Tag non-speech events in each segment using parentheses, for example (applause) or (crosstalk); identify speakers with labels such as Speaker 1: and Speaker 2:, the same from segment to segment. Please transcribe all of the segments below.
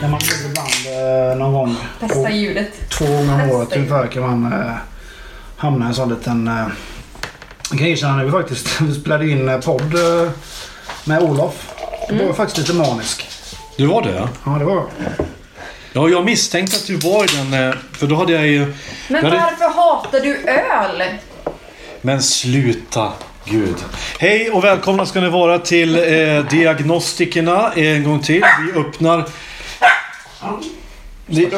Speaker 1: Kan man väl ibland eh, någon gång
Speaker 2: Bästa ljudet.
Speaker 1: två gånger om året
Speaker 2: Testa.
Speaker 1: ungefär kan man eh, hamna i en sån liten... Eh, jag kan erkänna när vi faktiskt (laughs) vi spelade in eh, podd eh, med Olof. Då var jag faktiskt lite manisk.
Speaker 3: Du var det?
Speaker 1: Ja, det var jag.
Speaker 3: Ja, jag misstänkte att du var i den... eh, För då hade jag ju...
Speaker 2: Men
Speaker 3: jag hade-
Speaker 2: varför hatar du öl?
Speaker 3: Men sluta! Gud. Hej och välkomna ska ni vara till eh, Diagnostikerna en gång till. Vi öppnar... Vi,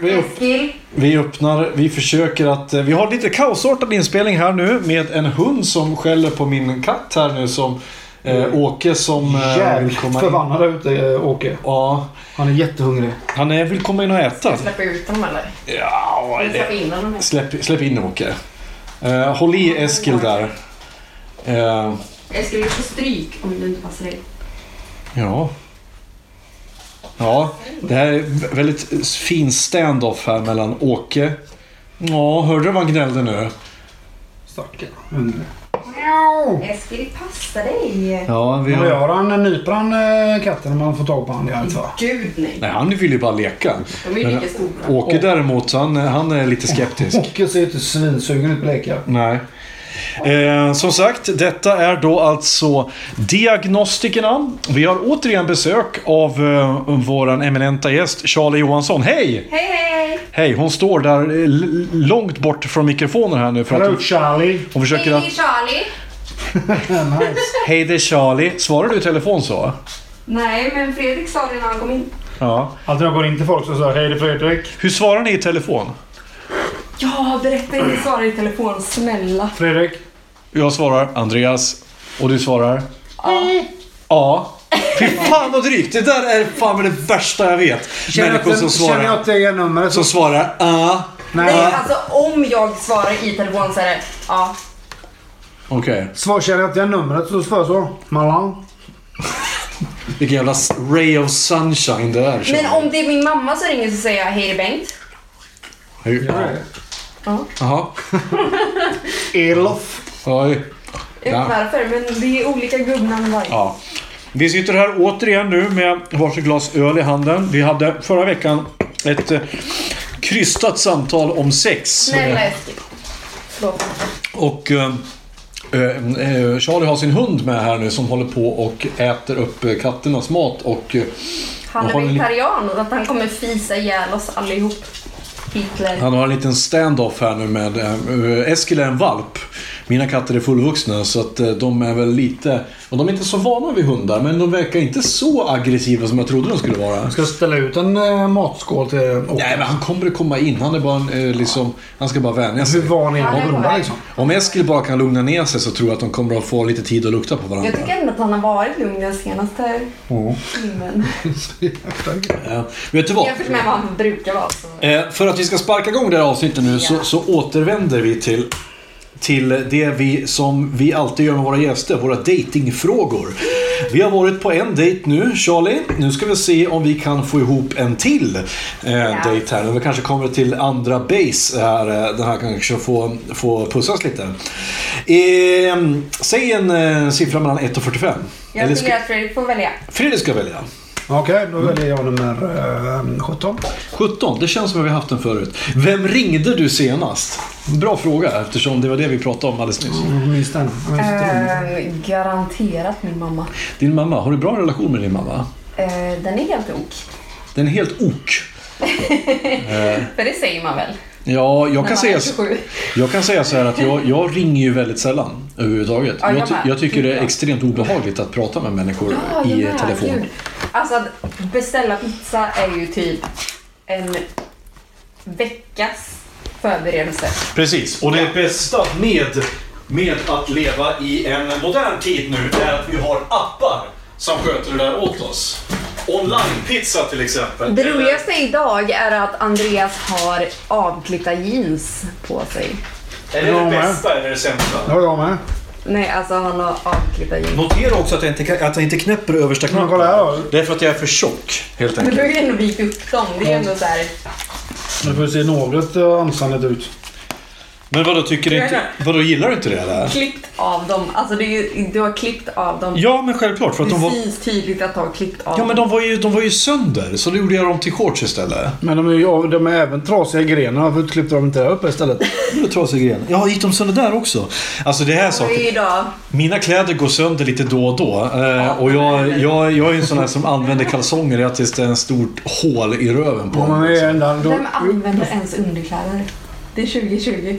Speaker 3: vi, upp,
Speaker 2: Eskil,
Speaker 3: vi öppnar... Vi försöker att... eh, Vi har lite kaosartad inspelning här nu med en hund som skäller på min katt här nu som... Eh, Åke som... Eh, vill
Speaker 1: Jävligt
Speaker 3: komma in.
Speaker 1: förbannad ute eh, Åke.
Speaker 3: Ja,
Speaker 1: Han är jättehungrig.
Speaker 3: han eh, vill komma in och äta.
Speaker 2: släppa ut dem eller?
Speaker 3: Ja,
Speaker 2: Eller
Speaker 3: det-
Speaker 2: släppa in dem?
Speaker 3: Släpp, släpp in Åke. Eh, håll i Eskil där. Eh,
Speaker 2: Eskil, du får stryk om du inte passar dig.
Speaker 3: ja. Ja, det här är väldigt fin stand-off här mellan Åke. Ja, hörde du vad han gnällde nu?
Speaker 1: Stackarn. Hungrig.
Speaker 2: Eskil, passa dig!
Speaker 3: Ja, vi
Speaker 1: Vad
Speaker 3: har...
Speaker 1: gör han? Nyper han eh, katten om man får tag på honom? Det gör han inte va?
Speaker 2: Gud nej.
Speaker 3: Nej, han vill ju bara leka.
Speaker 2: De är ju lika stora.
Speaker 3: Åke däremot, han, han är lite skeptisk.
Speaker 1: Åke ser inte svinsugen ut på lekar.
Speaker 3: Nej. Eh, som sagt, detta är då alltså Diagnostikerna. Vi har återigen besök av eh, vår eminenta gäst Charlie Johansson. Hej!
Speaker 2: Hej hej!
Speaker 3: Hej, hon står där eh, l- långt bort från mikrofonen här nu. För att
Speaker 1: Hello
Speaker 3: hon,
Speaker 1: Charlie!
Speaker 3: hon försöker att...
Speaker 2: Hej Charlie!
Speaker 1: nice.
Speaker 3: Hej det är Charlie. Svarar du i telefon så?
Speaker 2: Nej, men Fredrik sa det när han kom in.
Speaker 3: Ja.
Speaker 1: Alltid när Alltså, jag går in till folk så säger jag hej det är Fredrik.
Speaker 3: Hur svarar ni i telefon?
Speaker 2: Ja, berätta inte svara i telefon, snälla.
Speaker 1: Fredrik.
Speaker 3: Jag svarar Andreas. Och du svarar? Ja. Fy fan vad drygt. Det där är fan med det värsta jag vet. Människor
Speaker 1: Känner jag
Speaker 3: som svarar...
Speaker 1: att det är numret så...
Speaker 3: Som svarar ah.
Speaker 2: Nej,
Speaker 1: Nej.
Speaker 2: alltså om jag svarar i telefon så är det ja.
Speaker 3: Okej.
Speaker 1: Svar, känner jag att det är numret så svarar jag så. Malan.
Speaker 3: Vilken jävla s- ray of sunshine det är.
Speaker 2: Men om det är min mamma som ringer så säger jag hej det är Bengt.
Speaker 3: Hur- Jaha.
Speaker 1: Elof.
Speaker 3: Oj.
Speaker 2: Jag vet inte varför, men det är olika gubbnamn varje.
Speaker 3: Ja. Vi sitter här återigen nu med varsitt glas öl i handen. Vi hade förra veckan ett eh, krystat samtal om sex.
Speaker 2: Snälla Eskil. Förlåt.
Speaker 3: Och eh, eh, Charlie har sin hund med här nu som håller på och äter upp eh, katternas mat. Och, eh,
Speaker 2: Han
Speaker 3: Jag har
Speaker 2: är
Speaker 3: en li-
Speaker 2: vegetarian och att han kommer fisa ihjäl oss allihop. Hitler.
Speaker 3: han har en liten stand-off här nu med... Eh, Eskil är en valp. Mina katter är fullvuxna så att eh, de är väl lite... Och de är inte så vana vid hundar men de verkar inte så aggressiva som jag trodde de skulle vara.
Speaker 1: Ska jag ställa ut en eh, matskål till Åke?
Speaker 3: Nej, men han kommer att komma in. Han är bara en, eh, liksom... Han ska bara vänja sig.
Speaker 1: Hur van är
Speaker 2: Han
Speaker 1: han
Speaker 2: är
Speaker 1: på
Speaker 2: på
Speaker 1: hundar
Speaker 2: väg.
Speaker 1: liksom?
Speaker 3: Om Eskil bara kan lugna ner sig så tror jag att de kommer att få lite tid att lukta på varandra.
Speaker 2: Jag tycker ändå att han har varit lugn den senaste timmen.
Speaker 3: Eh, vet du vad?
Speaker 2: Jämfört med vad han brukar vara. Så.
Speaker 3: Eh, för att vi ska sparka igång det här avsnittet nu så, så återvänder vi till, till det vi, som vi alltid gör med våra gäster, våra datingfrågor. Vi har varit på en dejt nu, Charlie. Nu ska vi se om vi kan få ihop en till eh, dejt här. Vi kanske kommer till andra base här. eh, Den här kanske får, får pussas lite. Eh, säg en eh, siffra mellan 1 och 45.
Speaker 2: Jag
Speaker 3: Eller
Speaker 2: tycker
Speaker 3: ska,
Speaker 2: att Fredrik får välja.
Speaker 3: Fredrik ska välja.
Speaker 1: Okej, då väljer jag nummer eh, 17.
Speaker 3: 17, det känns som att vi har haft den förut. Vem ringde du senast? Bra fråga eftersom det var det vi pratade om alldeles
Speaker 2: Mm.
Speaker 3: nyss.
Speaker 1: Jag minns den. Jag minns inte den.
Speaker 2: Ehm, garanterat min mamma.
Speaker 3: Din mamma, har du bra relation med din mamma?
Speaker 2: Ehm, den är helt ok.
Speaker 3: Den är helt ok.
Speaker 2: För det säger man väl?
Speaker 3: Ja, jag
Speaker 2: när
Speaker 3: kan,
Speaker 2: man
Speaker 3: säga,
Speaker 2: är 27.
Speaker 3: jag kan säga så här att jag, jag ringer ju väldigt sällan överhuvudtaget.
Speaker 2: Ja, jag
Speaker 3: jag, ty-
Speaker 2: med.
Speaker 3: jag tycker det är
Speaker 2: Ja.
Speaker 3: extremt obehagligt att prata med människor
Speaker 2: Ja, jag
Speaker 3: i
Speaker 2: med,
Speaker 3: telefon.
Speaker 2: Ah, gud. Alltså att beställa pizza är ju typ en veckas förberedelse.
Speaker 3: Precis, och det bästa med, med att leva i en modern tid nu är att vi har appar som sköter det där åt oss. Online-pizza till exempel.
Speaker 2: Det roligaste idag är att Andreas har avklippta jeans på sig.
Speaker 3: Är det
Speaker 1: Ja,
Speaker 3: det
Speaker 1: men.
Speaker 3: bästa eller det
Speaker 1: Det
Speaker 3: sämsta?
Speaker 1: har jag med.
Speaker 2: Nej, alltså han har avklippta jeans.
Speaker 3: Notera också att jag inte, kan- att jag inte knäpper översta
Speaker 1: Men kolla här då.
Speaker 3: Det är för att jag är för tjock, helt
Speaker 2: Men
Speaker 3: enkelt.
Speaker 2: du har ju ändå vikt upp dem. Det är ändå så här.
Speaker 1: Nu får vi se något eh, anständigt ut.
Speaker 3: Men vadå, tycker du inte... Vadå, gillar du inte det eller?
Speaker 2: klippt av dem. Alltså det är ju, du har klippt av dem.
Speaker 3: Ja, men självklart. För att
Speaker 2: det
Speaker 3: de var...
Speaker 2: syns tydligt att du har klippt av
Speaker 3: Ja, men
Speaker 2: dem.
Speaker 3: de var ju, de var ju sönder. Så då gjorde jag dem till shorts istället.
Speaker 1: Men de är, ju av- de är även trasiga i grenen. Varför klippte de inte där uppe (laughs) istället?
Speaker 3: Vadå trasig gren? Ja, gick de sönder där också? Alltså det här
Speaker 2: Det
Speaker 3: saker...
Speaker 2: är ju idag.
Speaker 3: Mina kläder går sönder lite då och då. Eh, och jag, jag, jag är ju en sån här som använder kalsonger tills det är en stort hål i röven på liksom.
Speaker 1: Om man
Speaker 3: mig.
Speaker 1: är en där, då...
Speaker 2: Vem använder ens underkläder? Det är 2020.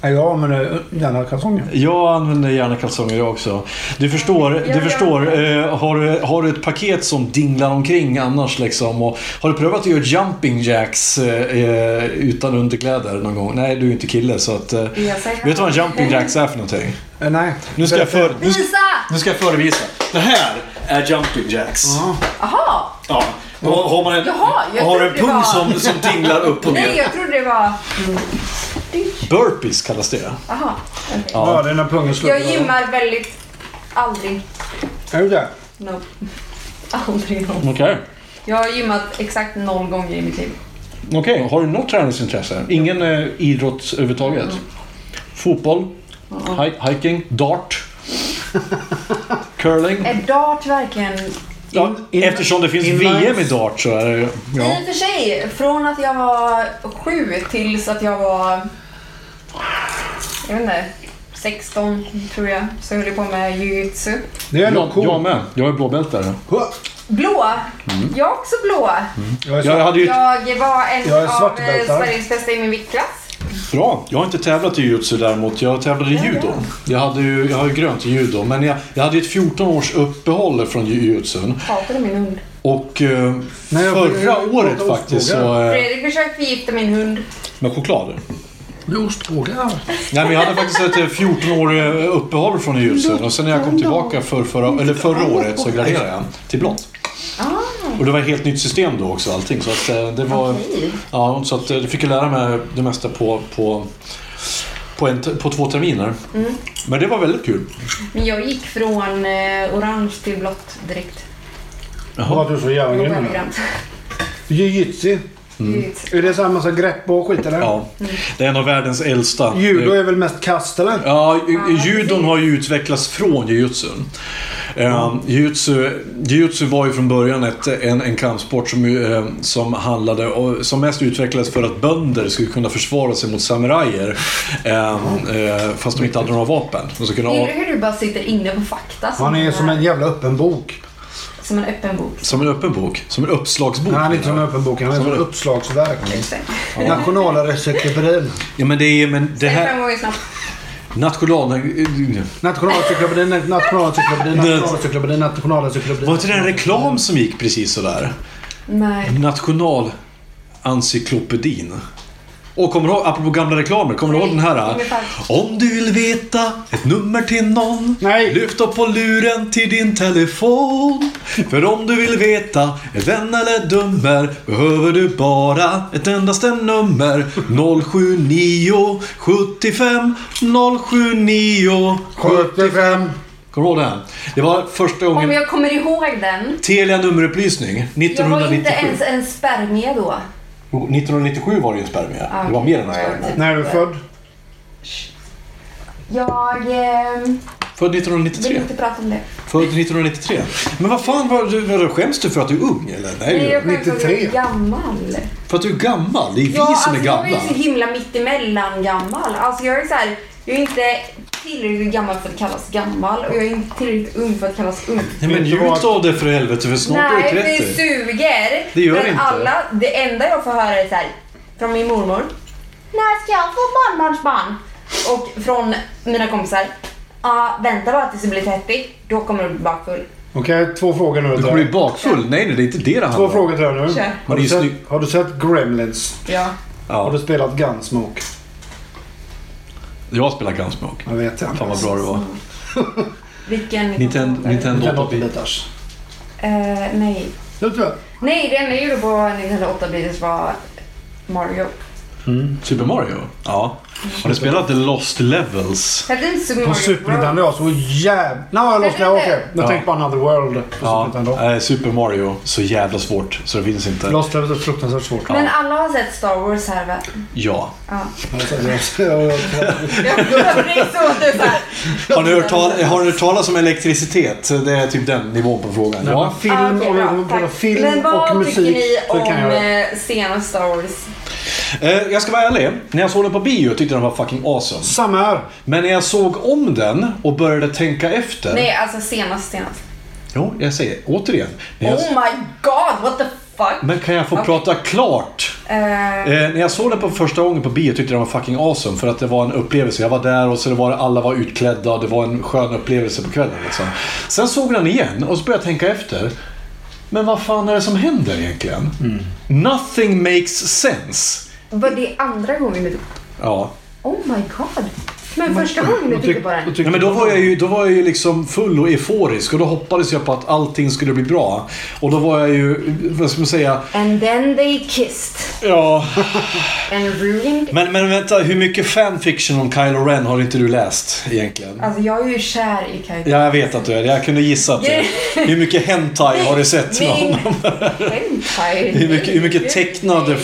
Speaker 1: Ja, jag använder gärna kalsonger.
Speaker 3: Jag använder gärna kalsonger jag också. Du förstår,
Speaker 2: Ja,
Speaker 3: du
Speaker 2: ja.
Speaker 3: förstår eh, har, du, har du ett paket som dinglar omkring annars liksom? Och har du prövat att göra jumping jacks eh, eh, utan underkläder någon gång? Nej, du är ju inte kille så att... Eh,
Speaker 2: Jag
Speaker 3: vet
Speaker 2: säger-
Speaker 3: du vad en jumping jacks är för någonting?
Speaker 1: Eh, nej.
Speaker 3: Nu ska jag, för, nu, ska-
Speaker 2: Visa!
Speaker 3: nu ska jag förevisa. Det här är jumping jacks.
Speaker 2: Jaha!
Speaker 3: Ja. Och har man en,
Speaker 2: Jaha, jag
Speaker 3: har en
Speaker 2: trodde det
Speaker 3: pung
Speaker 2: var-
Speaker 3: som, som tinglar upp och
Speaker 2: Nej,
Speaker 3: ner.
Speaker 2: jag trodde det var...
Speaker 3: Burpees kallas det.
Speaker 2: Jaha. okej.
Speaker 1: Ja, den där pungen slår.
Speaker 2: Jag gymmar väldigt... Aldrig.
Speaker 1: Är du det?
Speaker 2: Nope. Aldrig någon.
Speaker 3: Okej.
Speaker 2: Jag har gymmat exakt noll gånger i mitt liv.
Speaker 3: Okej, har du något träningsintresse? Ingen eh, idrott överhuvudtaget?
Speaker 1: Mm.
Speaker 3: Fotboll? hi- hiking? Dart? curling?
Speaker 2: Är dart verkligen...
Speaker 3: Ja,
Speaker 1: in-
Speaker 3: eftersom det finns
Speaker 1: inlines. Eh,
Speaker 3: VM i dart så är det ju- ja.
Speaker 2: I och för sig, från att jag var sju tills att jag var... Jag vet inte. 16 tror jag, så höll jag på med jujutsu.
Speaker 1: Det är
Speaker 3: Jag,
Speaker 1: nog
Speaker 3: jag
Speaker 1: coolt.
Speaker 3: med. Jag är blåbältare.
Speaker 2: Blå! Jag är också blå.
Speaker 1: Jag är
Speaker 3: Jag
Speaker 1: så-
Speaker 3: hade ju ett...
Speaker 2: Jag var en
Speaker 1: Mm. Jag är
Speaker 2: av eh,
Speaker 1: svartbältare.
Speaker 2: Sveriges bästa i min viktklass.
Speaker 3: Bra. Jag har inte tävlat i jujutsu däremot. Jag tävlade i judo. Jag, hade ju, jag har ju grönt i judo. Men jag, jag hade ju ett 14 års uppehåll från jujutsun.
Speaker 2: Hatade min hund.
Speaker 3: Och eh,
Speaker 1: Nej, jag-
Speaker 3: förra
Speaker 1: jag-
Speaker 3: året
Speaker 1: jag-
Speaker 3: faktiskt
Speaker 1: jag-
Speaker 3: så... Eh,
Speaker 2: Fredrik försökte förgifta min hund.
Speaker 3: med choklad.
Speaker 1: Det är ostbågar.
Speaker 3: Nej, men jag hade faktiskt ett eh, 14 år eh, uppehåll från ljusen och sen när jag kom tillbaka för förra, eller förra året så graderade jag till blått. Och det var ett helt nytt system då också allting. Så att eh, det var...
Speaker 2: Okej.
Speaker 3: Ja, så att eh, jag fick ju lära mig det mesta på, på, på, en, på två terminer. Men det var väldigt kul.
Speaker 2: Men jag gick från eh, orange till blått direkt.
Speaker 1: Vad du är så jävla grym med det.
Speaker 2: Noggrant.
Speaker 1: Jiu-jitsu.
Speaker 2: Jujutsu.
Speaker 1: Är det så här massa grepp och skit eller?
Speaker 3: Ja, det är en av världens äldsta.
Speaker 1: Judo är väl mest kast eller?
Speaker 3: Ja, ju- judon har ju utvecklats från jujutsun. Ehm, Jujutsu, jujutsu var ju från början ett, en, en kampsport som, ju, eh, som handlade och som mest utvecklades för att bönder skulle kunna försvara sig mot samurajer ehm, eh, fast de inte hade några vapen. De skulle kunna,
Speaker 2: Gillar
Speaker 3: av-
Speaker 2: du hur du bara sitter inne på fakta?
Speaker 1: Han är som en jävla öppen bok.
Speaker 2: som en öppen bok.
Speaker 3: som en öppen bok, som en uppslagsbok.
Speaker 1: Nej, han är inte som en öppen bok. Han är som ett
Speaker 3: en-
Speaker 1: uppslagsverk.
Speaker 2: Sen
Speaker 1: Nationalsekreterin.
Speaker 3: Ja, men det är men det
Speaker 2: fem
Speaker 3: här...
Speaker 2: gånger snabbt.
Speaker 3: National...
Speaker 1: Nationalsekreterin, nationalsekreterin, nationalsekreterin, nationalsekreterin.
Speaker 3: Var inte det en reklam som gick precis sådär? Mm.
Speaker 2: Nej.
Speaker 3: Nationalencyklopedin. Och kommer du ihåg, apropå gamla reklamer, kommer du ihåg den här?
Speaker 2: Ungefär.
Speaker 3: Om du vill veta ett nummer till någon,
Speaker 1: Nej.
Speaker 3: lyft upp på luren till din telefon. För om du vill veta ett vän eller dummer, behöver du bara ett endaste nummer. 079 75 079
Speaker 1: 75.
Speaker 3: Kommer du ihåg den? Det var första
Speaker 2: Om
Speaker 3: gången
Speaker 2: jag kommer ihåg den.
Speaker 3: Telia nummerupplysning,
Speaker 2: Jag
Speaker 3: 1997.
Speaker 2: var inte ens en spermie då.
Speaker 3: Jo, 1997 var det ju en spermie. Det
Speaker 2: Ah,
Speaker 3: var mer än en spermie.
Speaker 1: När är du född?
Speaker 2: Jag eh,
Speaker 3: Född
Speaker 2: vill
Speaker 3: 1993.
Speaker 2: inte prata om det.
Speaker 3: Född 1993. Men vad fan, var du, var du, skäms du för att du är ung eller? Nej,
Speaker 2: Nej, jag
Speaker 3: du-
Speaker 2: skäms för att jag
Speaker 1: 93.
Speaker 2: är gammal.
Speaker 3: för att du är gammal. Det är vi
Speaker 2: Ja,
Speaker 3: som är
Speaker 2: alltså, jag
Speaker 3: gamla.
Speaker 2: är så himla mittemellan gammal. Alltså jag är så här, jag är inte tillräckligt gammal för att kallas gammal och jag är inte tillräckligt ung för att kallas ung.
Speaker 3: Nej, men
Speaker 1: Vet du vad-
Speaker 3: njut av det för helvete för snart
Speaker 2: Nej,
Speaker 3: är du
Speaker 2: det
Speaker 3: 30.
Speaker 2: suger.
Speaker 3: Det gör
Speaker 2: men
Speaker 3: det inte.
Speaker 2: alla, det enda jag får höra är så här, från min mormor. När ska jag få barnbarnsbarn? Och från mina kompisar. Ja, vänta bara tills du blir 30. Då kommer du bli bakfull.
Speaker 1: Okej, två frågor nu.
Speaker 3: Du kommer bli bakfull. Nej, nej, det är inte det det handlar
Speaker 1: Två
Speaker 3: om.
Speaker 1: frågor till dig nu.
Speaker 2: Kör.
Speaker 1: Har
Speaker 3: Det är
Speaker 1: du,
Speaker 3: ju snygg-
Speaker 1: sett, har du sett Gremlins?
Speaker 2: Ja.
Speaker 1: Har
Speaker 3: Ja,
Speaker 1: du spelat Gunsmoke?
Speaker 3: jag spelar Gunsmoke.
Speaker 1: Jag vet jag.
Speaker 3: Fan vad bra det var.
Speaker 2: (laughs) Vilken?
Speaker 3: Nintendo,
Speaker 1: Den
Speaker 3: Nintendo 8
Speaker 1: 8-bitars.
Speaker 2: Eh, nej.
Speaker 1: Sluta.
Speaker 2: Nej, det enda jag gjorde på Nintendo 8-bitars var Mario.
Speaker 3: Super Mario? Ja. Har du spelat The Lost Levels?
Speaker 2: Hette inte Super
Speaker 1: På
Speaker 2: Mario
Speaker 1: Super
Speaker 2: Bros?
Speaker 1: Nintendo jag så jävla... Nej, jag lossnade.
Speaker 2: Helvete.
Speaker 1: Okej. Jag tänkte på Another World på Super
Speaker 3: Ja,
Speaker 1: Nintendo.
Speaker 3: eh, Super Mario. Så jävla svårt så det finns inte.
Speaker 1: Lost Levels är fruktansvärt svårt.
Speaker 2: Men alla har sett Star Wars här
Speaker 3: (laughs)
Speaker 2: va?
Speaker 3: Ja.
Speaker 2: Jag kommer precis åt det så här.
Speaker 3: Har ni hört, tal- har ni hört talas om elektricitet? Det är typ den nivån på frågan.
Speaker 1: Ja,
Speaker 3: Ja.
Speaker 1: film,
Speaker 2: Ah, okej,
Speaker 1: om vi
Speaker 2: bra,
Speaker 1: kommer prata
Speaker 2: tack.
Speaker 1: film
Speaker 2: Men vad
Speaker 1: och musik
Speaker 2: tycker
Speaker 1: så kan jag det.
Speaker 2: ni om eh, senaste Star Wars?
Speaker 3: Eh, Jag ska vara ärlig. När jag såg den på bio tyckte jag den var fucking awesome.
Speaker 1: Samma här.
Speaker 3: Men när jag såg om den och började tänka efter.
Speaker 2: Nej, alltså senast senast.
Speaker 3: Jo, jag säger återigen. När jag...
Speaker 2: Oh my god, what the fuck?
Speaker 3: Men kan jag få
Speaker 2: Okej.
Speaker 3: prata klart?
Speaker 2: Eh,
Speaker 3: Eh, när jag såg den på första gången på bio tyckte jag den var fucking awesome. För att det var en upplevelse. Jag var där och så det var, alla var utklädda och det var en skön upplevelse på kvällen. Liksom. Sen såg jag den igen och så började jag tänka efter. Men vad fan är det som händer egentligen? Nothing makes sense.
Speaker 2: var det andra gången du...
Speaker 3: Ja.
Speaker 2: Oh my god. Men första gången du tittade på den?
Speaker 3: Nej, men då var jag ju, då var jag ju liksom full och euforisk och då hoppades jag på att allting skulle bli bra. Och då var jag ju, vad ska man säga,
Speaker 2: And then they kissed.
Speaker 3: ja...
Speaker 2: And ruined...
Speaker 3: Men, men vänta, hur mycket fanfiction om Kylo Ren har inte du läst egentligen?
Speaker 2: Alltså jag är ju kär i Kylie.
Speaker 3: Ja, jag vet att du är det. Jag kunde gissa att det. Hur mycket hentai har du sett med
Speaker 2: Min-
Speaker 3: honom?
Speaker 2: Hentai.
Speaker 3: Hur mycket, hur mycket tecknade
Speaker 2: Nej.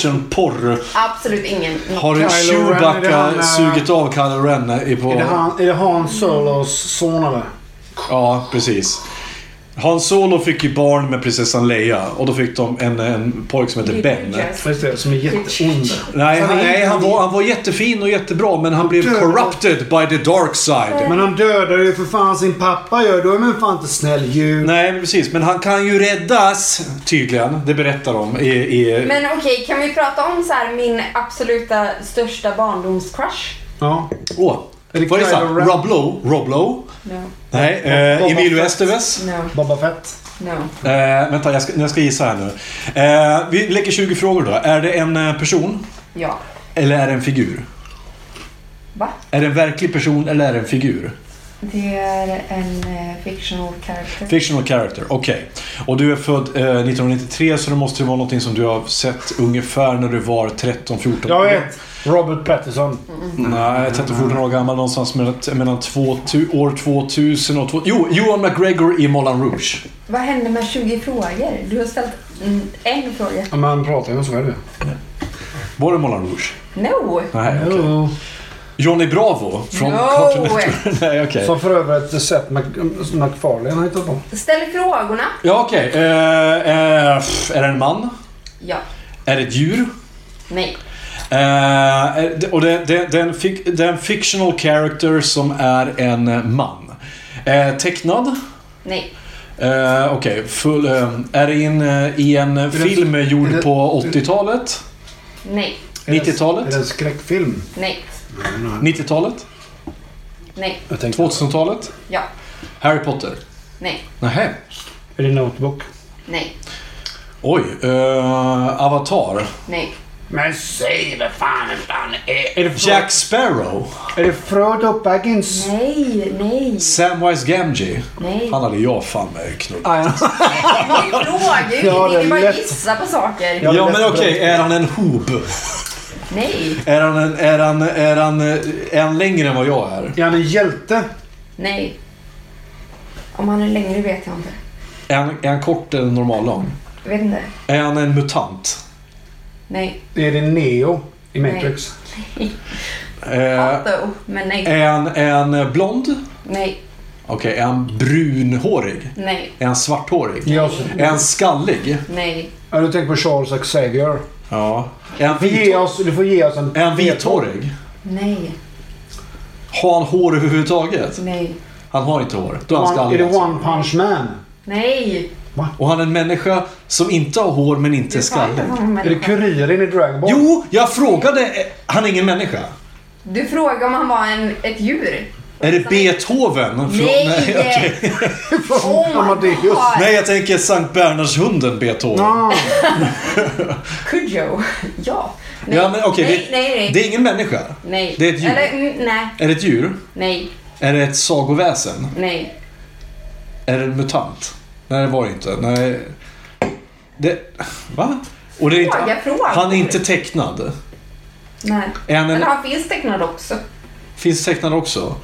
Speaker 3: fanfiction-porr
Speaker 2: Absolut ingen.
Speaker 3: har
Speaker 1: Kylo
Speaker 3: du
Speaker 1: Ren, är det
Speaker 3: Chewbacca
Speaker 1: han, äh,
Speaker 3: sugit av Kylo Ren? i
Speaker 1: Är det
Speaker 3: På...
Speaker 1: han, är det han Solos son eller?
Speaker 3: Ja, precis. Han Solo fick ju barn med prinsessan Leia och då fick de en, en pojk som heter Ben.
Speaker 1: Just det, som är jätteond.
Speaker 3: Nej,
Speaker 1: Så
Speaker 3: han,
Speaker 1: är
Speaker 3: nej
Speaker 1: inte-
Speaker 3: han, var, han var jättefin och jättebra men han blev
Speaker 1: Död.
Speaker 3: corrupted by the dark side.
Speaker 1: Men han dödar ju för fan sin pappa gör. Då är man fan inte snäll djur.
Speaker 3: Nej, men precis. Men han kan ju räddas tydligen. Det berättar de i... i...
Speaker 2: Men okej, kan vi prata om så här min absoluta största barndomscrush?
Speaker 1: Ja.
Speaker 3: Åh,
Speaker 1: Är det
Speaker 3: vad är det? så här?
Speaker 1: Kylo Ren?
Speaker 3: Roblo? Roblo?
Speaker 2: No,
Speaker 3: Nej, eh,
Speaker 1: Boba
Speaker 3: Emilio
Speaker 1: Fett.
Speaker 3: Estevez?
Speaker 2: no,
Speaker 1: Boba Fett.
Speaker 2: no.
Speaker 3: Eh, vänta, jag ska, jag ska gissa här nu. Eh, vi lägger 20 frågor då. Är det en eh, person?
Speaker 2: Ja.
Speaker 3: Eller är det en figur?
Speaker 2: Va?
Speaker 3: Är det en verklig person eller är det en figur?
Speaker 1: Mm.
Speaker 2: Det är en eh, fictional character.
Speaker 3: Fictional character, okej. Och du är född eh, 1993 så det måste ju vara någonting som du har sett ungefär när du var 13-14
Speaker 1: Jag vet. Robert Pattinson.
Speaker 3: Nej, 13-14 år gammal någonstans mellan, mellan två, tu, år 2000 och... Två, jo, Johan McGregor i Moulin Rouge.
Speaker 2: Vad hände med 20 frågor? Du har ställt mm, en fråga.
Speaker 1: Ja, Man pratar ju om så är det ju.
Speaker 3: Var det Moulin Rouge?
Speaker 2: No!
Speaker 3: Nej, okej.
Speaker 1: Jo.
Speaker 3: Johnny Bravo från
Speaker 2: No!
Speaker 1: (laughs)
Speaker 3: Cartoon Network. Nej, okej.
Speaker 1: Som för övrigt Seth Mac- MacFarlane har hittat på.
Speaker 2: Ställ frågorna.
Speaker 3: Ja, okej. Eh, eh, pff, är det en man?
Speaker 2: Ja.
Speaker 3: Är det ett djur?
Speaker 2: Nej.
Speaker 3: Eh, eh, och det, det, det, är en fic, det är en fictional character som är en eh, man. Eh, tecknad?
Speaker 2: Nej.
Speaker 3: Eh, okej. Full, eh, är det in, eh, i en eh, film
Speaker 1: är
Speaker 3: gjord
Speaker 1: det-
Speaker 3: på 80-talet?
Speaker 2: Nej.
Speaker 1: Är det
Speaker 3: 90-talet?
Speaker 1: en skräckfilm?
Speaker 2: Nej.
Speaker 3: 90-talet?
Speaker 2: Nej.
Speaker 1: Jag tänkte,
Speaker 3: 2000-talet?
Speaker 2: Ja.
Speaker 3: Harry Potter?
Speaker 2: Nej.
Speaker 3: Nähä.
Speaker 1: är det Notebook?
Speaker 2: Nej.
Speaker 3: Oj. eh, Avatar?
Speaker 2: Nej.
Speaker 1: Men säg vad fan en fan är. Är det, Fro-
Speaker 3: Jack Sparrow?
Speaker 1: är det Frodo Baggins?
Speaker 2: Nej. Nej.
Speaker 3: Samwise Gamgee?
Speaker 2: Nej.
Speaker 3: Han hade jag fan med knull.
Speaker 1: Ah, ja.
Speaker 2: Det är frågor.
Speaker 1: Ja, det
Speaker 2: det
Speaker 1: är
Speaker 2: är bara
Speaker 1: lätt.
Speaker 2: gissa på saker.
Speaker 1: Ja.
Speaker 3: Ja men okej, är han en hob?
Speaker 2: Nej.
Speaker 3: Är han, en, är, han, är, han, är han längre än vad jag är?
Speaker 1: Är han en hjälte?
Speaker 2: Nej. Om han är längre vet jag inte.
Speaker 3: Är han, är han kort eller normallång?
Speaker 2: Jag vet inte.
Speaker 3: Är han en mutant?
Speaker 2: Nej.
Speaker 1: Är det Neo i Matrix?
Speaker 3: Eh,
Speaker 2: Otto. Men nej.
Speaker 3: är, han, är han blond?
Speaker 2: Nej.
Speaker 3: Okej, är han brunhårig?
Speaker 2: Nej.
Speaker 3: Är han svarthårig?
Speaker 1: Ja,
Speaker 3: Är han skallig?
Speaker 2: Nej.
Speaker 1: Ja, du tänker på Charles Xavier.
Speaker 3: Ja. Är han,
Speaker 1: Du får ge
Speaker 3: vit,
Speaker 1: oss, du får ge oss en...
Speaker 3: är han vithårig?
Speaker 2: Nej.
Speaker 3: Har han hår överhuvudtaget?
Speaker 2: Nej.
Speaker 3: Han har inte hår. Då är han
Speaker 1: One, är
Speaker 3: skallig.
Speaker 1: det
Speaker 3: alltså.
Speaker 1: One Punch Man?
Speaker 2: Nej.
Speaker 1: Va?
Speaker 3: Och han är en människa som inte har hår men inte är skallig.
Speaker 1: Är det kuriren i Dragon Ball?
Speaker 3: Jo, jag frågade. eh, Han är ingen människa.
Speaker 2: Du frågade om han var en, ett djur.
Speaker 3: Är det Beethoven? Frå-
Speaker 2: Nej!
Speaker 3: okej.
Speaker 2: Oh my
Speaker 1: Amadeus.
Speaker 2: god!
Speaker 3: Nej, jag tänker Sankt Bernhardshunden Beethoven.
Speaker 1: Ah,
Speaker 2: Cujo. Ja. Nej,
Speaker 3: Ja, men okej.
Speaker 2: nej,
Speaker 3: det,
Speaker 2: nej, nej.
Speaker 3: det är ingen människa.
Speaker 2: nej.
Speaker 3: Det är ett djur.
Speaker 2: Eller, mm, nej,
Speaker 3: Är det ett djur?
Speaker 2: nej,
Speaker 3: Är det ett sagoväsen?
Speaker 2: nej.
Speaker 3: Är det en mutant? Nej, det var det inte. Nej. Det... Va? Och det är inte...
Speaker 2: Fråga, fråga.
Speaker 3: Han är inte tecknad.
Speaker 2: nej.
Speaker 3: Är han en...
Speaker 2: Men han finns tecknad också.
Speaker 3: Finns tecknad också.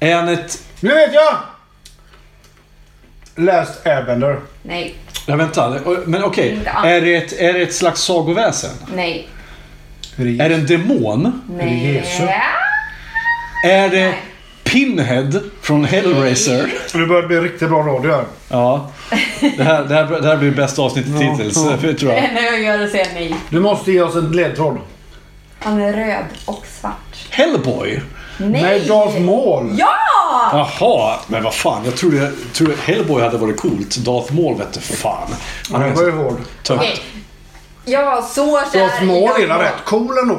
Speaker 3: Är han ett...
Speaker 1: nu vet jag! Last Airbender.
Speaker 2: Nej,
Speaker 3: Ja, vänta. Men okej.
Speaker 2: Inte alls.
Speaker 3: Är, det ett... är det ett slags sagoväsen?
Speaker 2: nej,
Speaker 3: Är det en demon?
Speaker 2: nej.
Speaker 1: Jesus?
Speaker 3: Är det Pinhead från Hellraiser?
Speaker 1: Nu börjar det bli riktigt bra radio här.
Speaker 3: Ja. Det här, det här, det här blir bästa avsnittet hittills, eh, tror jag.
Speaker 2: Det enda jag gör är att säga nej.
Speaker 1: Du måste ge oss en ledtråd.
Speaker 2: Han är röd och svart.
Speaker 3: Hellboy?
Speaker 2: Nej!
Speaker 1: Nej, Darth Maul.
Speaker 2: Ja!
Speaker 3: Jaha, men vad fan. Jag trodde, jag trodde Hellboy hade varit coolt. Darth Maul vette fan. Han
Speaker 1: Den
Speaker 3: är
Speaker 1: var ju
Speaker 3: så
Speaker 1: hård.
Speaker 3: tönt.
Speaker 2: Okej. Jag var så kär
Speaker 1: Darth Maul är
Speaker 2: Darth
Speaker 1: väl
Speaker 2: Maul.
Speaker 1: rätt cool ändå?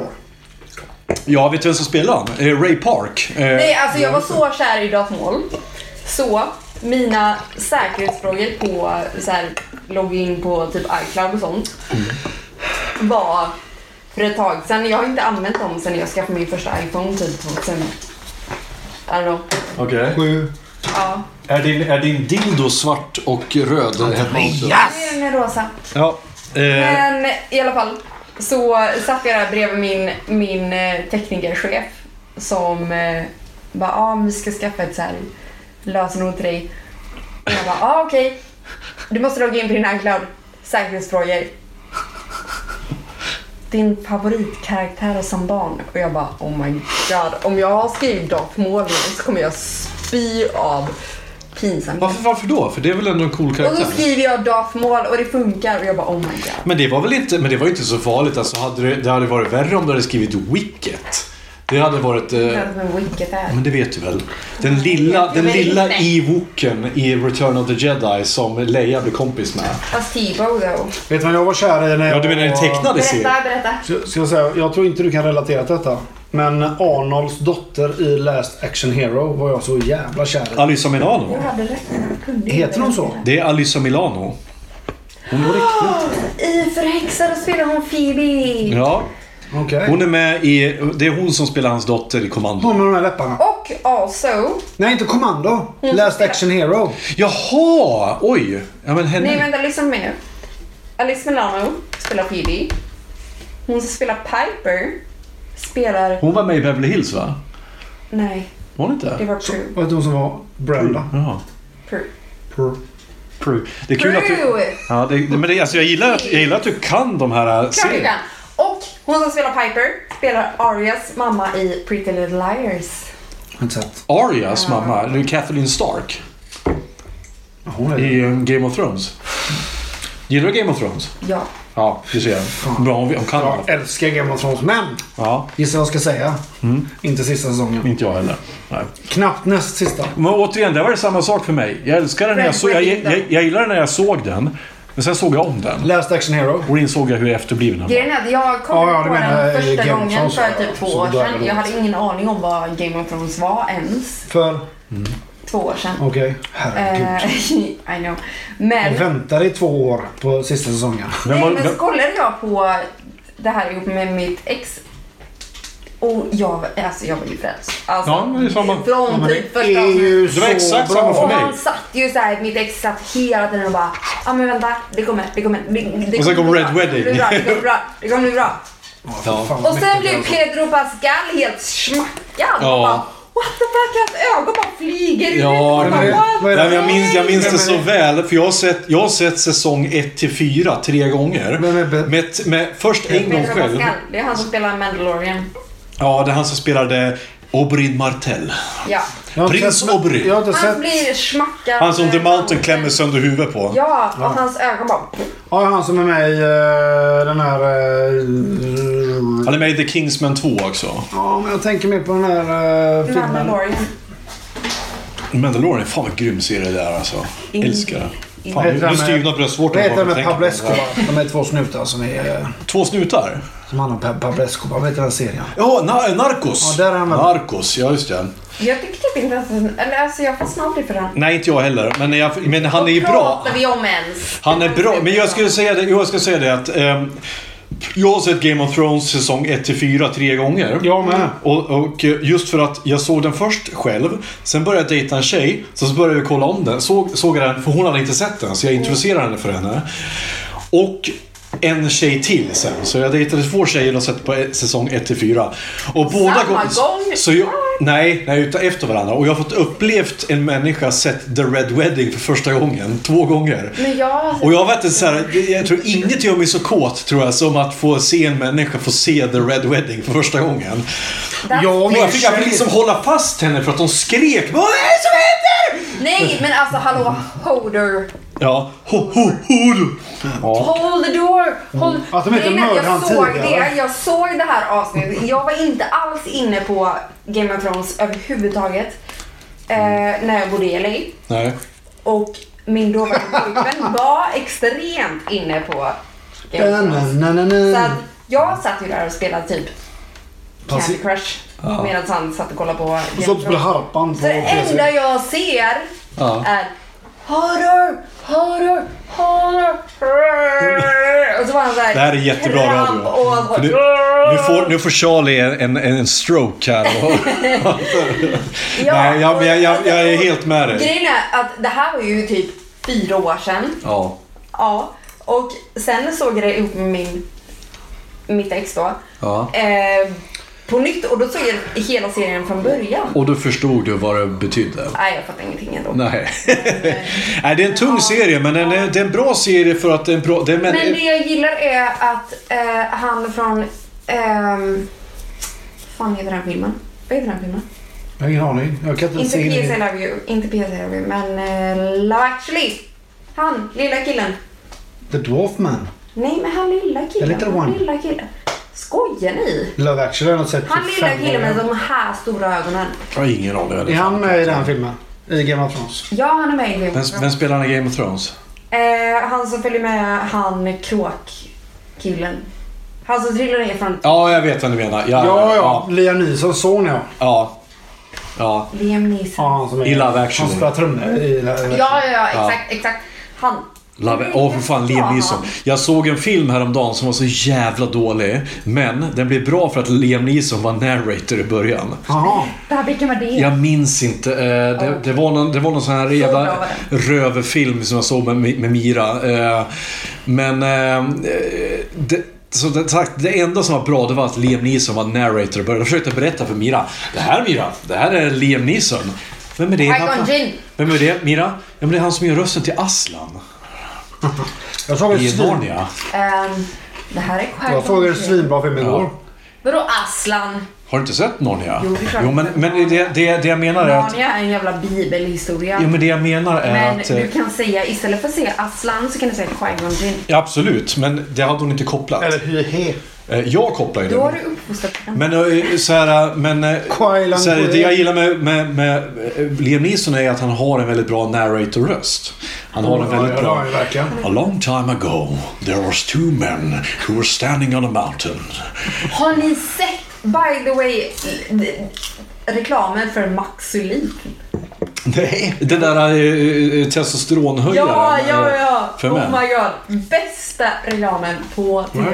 Speaker 3: Ja, vet du vem som spelar han? Eh, Ray Park. Eh,
Speaker 2: Nej, alltså jag var så kär i Darth Maul. Så mina säkerhetsfrågor på så här, login på typ iCloud och sånt var för ett tag sedan. Jag har inte använt dem sedan jag skaffade min första iPhone typ 2000. I don't know.
Speaker 3: Okej.
Speaker 1: Sju.
Speaker 2: Ja.
Speaker 3: Är, din, är din dildo svart och röd?
Speaker 2: Yes! Nu är den här rosa.
Speaker 3: Ja. Eh,
Speaker 2: Men i alla fall så satt jag där bredvid min, min eh, teknikerchef som eh, bara ja ah, vi ska skaffa ett så här lösenord till dig. Och jag bara ah, okej. Du måste logga in på din iCloud. Säkerhetsfrågor. Din favoritkaraktär som barn. Och jag bara oh my god. Om jag har skrivit Darth Maul nu så kommer jag spy av pinsamhet.
Speaker 3: varför, varför då? För det är väl ändå en cool
Speaker 2: Och då
Speaker 3: karaktär?
Speaker 2: skriver jag Darth Maul och det funkar och jag bara oh my god.
Speaker 3: Men det var väl inte, men det var ju inte så farligt. Alltså, hade det, det hade varit värre om du hade skrivit Wicket. Det hade varit... Eh,
Speaker 2: vet vem Wicket är.
Speaker 3: men det vet du väl? Den lilla, den
Speaker 2: Men
Speaker 3: lilla
Speaker 2: inte.
Speaker 3: Ewoken i Return of the Jedi som Leia blir kompis med.
Speaker 2: Fast T-Bow då.
Speaker 1: Vet du vad jag var kär i när jag
Speaker 3: Ja, du menar den
Speaker 1: var-
Speaker 3: tecknade serien?
Speaker 2: Berätta, berätta.
Speaker 1: Så- Ska jag, säga, jag tror inte du kan relatera till detta. Men Arnolds dotter i Last Action Hero var jag så jävla kär i.
Speaker 3: Alyssa Milano.
Speaker 2: Jag hade rätt. Jag kunde
Speaker 1: Heter hon
Speaker 2: inte.
Speaker 1: så?
Speaker 3: Det är Alyssa Milano. Hon var riktigt...
Speaker 2: I Förhäxade spelar hon Phoebe.
Speaker 3: Ja.
Speaker 1: Okej.
Speaker 3: Hon är med i... Det är hon som spelar hans dotter i Kommando.
Speaker 1: Hon med de här läpparna.
Speaker 2: Och also.
Speaker 1: Nej, inte Kommando.
Speaker 2: Mm.
Speaker 1: Last Action Hero.
Speaker 3: Jaha! Oj! Ja, men
Speaker 2: Nej
Speaker 3: henne...
Speaker 2: vänta, lyssna på mig nu. Alice Milano spelar Phoebe. Hon som spelar Piper spelar...
Speaker 3: Hon var med i Beverly Hills, va?
Speaker 2: Nej,
Speaker 3: Var hon
Speaker 2: det
Speaker 3: inte?
Speaker 2: var Prue.
Speaker 1: Vad hette hon som var Brenda?
Speaker 3: Jaha.
Speaker 2: Prue.
Speaker 1: Purr.
Speaker 3: Prue. Det är kul att du...
Speaker 2: Prue!
Speaker 3: Ja, det, men det, alltså jag, gillar att, jag gillar att du kan de här eh,
Speaker 2: Klart du
Speaker 3: serierna.
Speaker 2: kan. Och hon som spelar Piper spelar Arias mamma i Pretty Little Liars.
Speaker 1: Inte sett.
Speaker 3: Arias mamma, det är Kathleen Stark
Speaker 1: Ja, Hon är
Speaker 3: i um, Game of Thrones. Gillar du Game of Thrones?
Speaker 2: Ja.
Speaker 3: Ja, du ser. Bra, hon, hon kan
Speaker 1: Jag
Speaker 3: allt.
Speaker 1: älskar Game of Thrones, men
Speaker 3: Ja, Mm.
Speaker 1: gissa vad jag ska säga. Inte sista säsongen.
Speaker 3: inte jag heller. Nej.
Speaker 1: Knappt näst sista.
Speaker 3: Men återigen, det var samma sak för mig. Jag älskade den när jag, så, jag, jag, jag gillade den när jag såg den, men sen såg jag om den.
Speaker 1: Last Action Hero.
Speaker 3: Och då insåg jag hur efterbliven han var.
Speaker 2: Grejen är att jag kom
Speaker 1: Ja, ja, du
Speaker 2: på
Speaker 1: menar,
Speaker 2: den
Speaker 1: eh,
Speaker 2: första
Speaker 1: Game of
Speaker 2: gången
Speaker 1: Thrones,
Speaker 2: för
Speaker 1: ja,
Speaker 2: typ två
Speaker 1: så
Speaker 2: år
Speaker 1: då är det
Speaker 2: sedan.
Speaker 1: roligt.
Speaker 2: Jag hade ingen aning om vad Game of Thrones var ens.
Speaker 1: För...
Speaker 2: Två år sedan.
Speaker 1: Okej. Herregud.
Speaker 2: Eh, (laughs) I know.
Speaker 1: Jag
Speaker 2: Men,
Speaker 1: väntade i två år på sista säsongen.
Speaker 3: Vem var,
Speaker 2: nej, men så
Speaker 3: vem,
Speaker 2: kollade jag på det här ihop med mitt ex. Och jag, var- alltså, jag var ju frälst. Alltså,
Speaker 3: Ja, men det är samma.
Speaker 1: (laughs) Ja,
Speaker 2: Från
Speaker 1: men
Speaker 2: typ
Speaker 1: det
Speaker 2: första
Speaker 1: är ju
Speaker 3: Det var exakt samma för
Speaker 2: Och
Speaker 3: mig.
Speaker 2: han satt ju såhär, mitt ex satt hela tiden och bara Ja ah, men vänta, det kommer, det kommer. Det, det
Speaker 3: Och sen kom
Speaker 2: kommer bli
Speaker 3: Red
Speaker 2: bra,
Speaker 3: Wedding.
Speaker 2: Det kommer bli bra, det kommer bli bra, det kommer bli bra.
Speaker 3: ja.
Speaker 1: Fan, vad
Speaker 2: Och sen
Speaker 1: mäktigt
Speaker 2: blev
Speaker 1: alltså.
Speaker 2: Pedro Pascal helt smackad.
Speaker 3: Ja.
Speaker 2: Och Bara, What the fuck, hans ögon bara flyger ut.
Speaker 3: Ja,
Speaker 2: Och bara,
Speaker 3: men-
Speaker 2: "What?"
Speaker 1: vad är
Speaker 3: Nej, men jag minns, jag minns
Speaker 1: Vem
Speaker 3: det
Speaker 1: är
Speaker 3: så
Speaker 1: det?
Speaker 3: väl, för jag har sett, jag har sett säsong 1-4 tre gånger.
Speaker 1: Vem är Be-
Speaker 3: Med, med, först en gång
Speaker 2: Pedro
Speaker 3: själv.
Speaker 2: Pascal, det är han som spelar Mandalorian.
Speaker 3: Ja, det är han som spelade Oberyn Martell.
Speaker 2: Ja.
Speaker 1: Jag har inte
Speaker 3: Prins
Speaker 1: sett-
Speaker 3: Oberyn.
Speaker 1: Jag har inte
Speaker 2: Han
Speaker 1: sett...
Speaker 2: blir smackad.
Speaker 3: Han som The Mountain klämmer sönder huvudet på.
Speaker 2: Ja, och hans ögon bara...
Speaker 1: Ja, han som är med i eh, den här... eh,
Speaker 3: Han är med i The Kingsman 2 också.
Speaker 1: Ja, men jag tänker mer på den här eh, filmen.
Speaker 2: Mandalorian.
Speaker 3: Mandalorian, fan vad grym serie det är alltså. Älskar det. Fan, nu- nu styvnar bröstvårtan
Speaker 1: Vad heter
Speaker 3: bara
Speaker 1: de med
Speaker 3: jag tänker på
Speaker 1: Pablo
Speaker 3: det.
Speaker 1: Escobar? De är två snutar som, är, eh,
Speaker 3: Två snutar?
Speaker 1: som handlar om Pa- Pablo Escobar. Vad heter den serien?
Speaker 3: Ja, na- Narcos.
Speaker 1: Ja, där är han väl.
Speaker 3: Narcos, ja just det.
Speaker 2: Jag tycker typ inte ens... Eller alltså jag fastnar aldrig för den.
Speaker 3: Nej, inte jag heller. Men, jag, men han är ju bra.
Speaker 2: pratar vi om ens?
Speaker 3: Han är bra. Men jag skulle säga det, jo, jag ska säga det att ehm, jag har sett Game of Thrones säsong 1-4 tre gånger.
Speaker 1: Jag med.
Speaker 3: Och, och eh, just för att jag såg den först själv, sen började jag dejta en tjej, sen så började vi kolla om den. Såg, såg jag den, för hon hade inte sett den, så jag introducerade henne för henne. Och en tjej till sen. Så jag dejtade två tjejer och sett på eh, säsong 1-4. Och båda
Speaker 2: Samma gång?
Speaker 3: Så jag, nej, nej, utan efter varandra. Och jag har fått upplevt en människa sett The Red Wedding för första gången. Två gånger.
Speaker 2: Men jag har sett-
Speaker 3: Och jag vet inte, så här, jag tror inget gör mig så kåt tror jag som att få se en människa få se The Red Wedding för första gången.
Speaker 1: Jag och
Speaker 3: Och
Speaker 1: min
Speaker 3: jag fick, jag fick liksom hålla fast henne för att hon skrek Vad är det som händer?
Speaker 2: Nej men alltså hallå, holder.
Speaker 3: Ja, ho, ho, ho. du. Ja.
Speaker 2: Hold the door! Hold...
Speaker 1: Att Mm. de inte
Speaker 2: Grejen är att
Speaker 1: mördar han
Speaker 2: jag såg
Speaker 1: tidigare.
Speaker 2: det, jag såg det här avsnittet. Jag var inte alls inne på Game of Thrones överhuvudtaget. Eh,
Speaker 1: Mm.
Speaker 2: när jag bodde i LA.
Speaker 3: Nej.
Speaker 2: Och
Speaker 1: (laughs)
Speaker 2: min dåvarande pojkvän var extremt inne på Game of Thrones. Så att
Speaker 1: tjej.
Speaker 2: jag satt ju där och spelade typ Candy Crush medan han satt och kollade på Game of
Speaker 1: Så på
Speaker 2: Thrones.
Speaker 1: harpan. på-
Speaker 2: Så det enda jag ser
Speaker 3: Ja.
Speaker 2: är horror, horror, horror, horror. Och så var han såhär
Speaker 3: Det här är jättebra
Speaker 2: kramp
Speaker 3: radio.
Speaker 2: Och,
Speaker 3: För
Speaker 2: och,
Speaker 3: nu, nu, får, nu får Charlie en, en, en stroke här.
Speaker 2: (laughs)
Speaker 3: Och, nej, jag, men jag, jag, jag är helt med dig.
Speaker 2: Grejen är att det här var ju typ fyra år sedan.
Speaker 3: Ja.
Speaker 2: Ja. Och sen såg jag det ihop med min, mitt ex då.
Speaker 3: Ja.
Speaker 2: Eh, på nytt och då såg jag hela serien från början.
Speaker 3: Och då förstod du vad det betydde.
Speaker 2: Nej, jag fattar ingenting ändå.
Speaker 3: Nej. (laughs) Nej, det är en tung serie, men den är, det är en bra serie för att det är en bra... Det är men,
Speaker 2: Men det jag gillar är att eh, han från... ehm, fan heter den filmen? Vad heter den filmen?
Speaker 1: Jag har ingen aning. Jag kan inte
Speaker 2: Inte
Speaker 1: se
Speaker 2: PSA
Speaker 1: det.
Speaker 2: Love You, inte PSA Love You, men eh, Love actually. Han, lilla killen.
Speaker 1: The Dwarf Man.
Speaker 2: Nej, men han lilla killen.
Speaker 1: The little
Speaker 2: han
Speaker 1: one.
Speaker 2: lilla killen. Skojar ni?
Speaker 1: Love actually har jag sett
Speaker 2: Han
Speaker 1: för
Speaker 2: lilla
Speaker 1: fem
Speaker 2: killen
Speaker 1: år.
Speaker 2: med de här stora ögonen.
Speaker 3: Jag har ingen aning.
Speaker 1: Är han med i den filmen? I Game of Thrones?
Speaker 2: Ja, han är med i
Speaker 3: Vem,
Speaker 2: filmen.
Speaker 3: vem spelar han i Game of Thrones?
Speaker 2: Eh, han som följer med han kråkkillen. Han som trillar ner från
Speaker 3: Ja, jag vet vem du menar. Ja,
Speaker 1: Ja, ja.
Speaker 3: ja.
Speaker 1: Liam Neesons son ja.
Speaker 3: ja. ja.
Speaker 2: Liam Neeson.
Speaker 1: Ja, han som är...
Speaker 3: I Love Actually.
Speaker 1: Han spelar trummor i Love
Speaker 2: Ja, ja, ja, exakt, exakt. Han.
Speaker 3: Love it. Åh, för fan, Liam Neeson. Jag såg en film häromdagen som var så jävla dålig. Men den blev bra för att Liam Neeson var narrator i början.
Speaker 1: Jaha.
Speaker 2: Det här, vilken var det?
Speaker 3: Jag minns inte. eh, Det, det, var, någon, det var någon sån här
Speaker 2: bra
Speaker 3: jävla
Speaker 2: var
Speaker 3: röverfilm som jag såg med, med Mira. Eh, Men... eh, Det, så det, sagt, det enda som var bra det var att Liam Neeson var narrator och började försökte berätta för Mira. Det här Mira, det här är Liam Neeson. Vem är det?
Speaker 2: Qui-Gon Jinn.
Speaker 3: Vem är det? Mira? Ja, men det är han som gör rösten till Aslan.
Speaker 1: Jag såg en
Speaker 3: I
Speaker 1: svin-
Speaker 3: Narnia.
Speaker 2: Ehm, det här är skärgården.
Speaker 1: Jag såg en svinbra film igår.
Speaker 2: Vadå Aslan?
Speaker 3: Har du inte sett Narnia?
Speaker 2: Jo, det är klart.
Speaker 3: jo men, men det, det, det jag menar är att...
Speaker 2: Narnia är en jävla bibelhistoria.
Speaker 3: Jo, men det jag menar är
Speaker 2: men
Speaker 3: att... eh,
Speaker 2: du kan säga, istället för att säga Aslan så kan du säga Qui-Gon Jinn.
Speaker 3: Ja, absolut, men det hade hon inte kopplat.
Speaker 1: Eller hyhe.
Speaker 3: Eh, Jag kopplar ju
Speaker 2: Då har
Speaker 3: det.
Speaker 2: du uppfostrat den.
Speaker 3: Men eh, så här, men eh,
Speaker 1: Quailan
Speaker 3: så här, det
Speaker 1: Quailan.
Speaker 3: jag gillar med, med, med eh, Liam Neeson är att han har en väldigt bra narrator-röst. Han har en väldigt
Speaker 1: Ja,
Speaker 3: bra...
Speaker 1: det verkar.
Speaker 3: A long time ago there was two men who were standing on a mountain.
Speaker 2: Har ni sett, by the way, l- reklamen för Maxulin?
Speaker 3: Nej. Den där eh, eh, testosteronhöjaren.
Speaker 2: Ja, ja,
Speaker 3: eh,
Speaker 2: ja!
Speaker 3: För
Speaker 2: oh
Speaker 3: män.
Speaker 2: my god. Bästa reklamen på TV.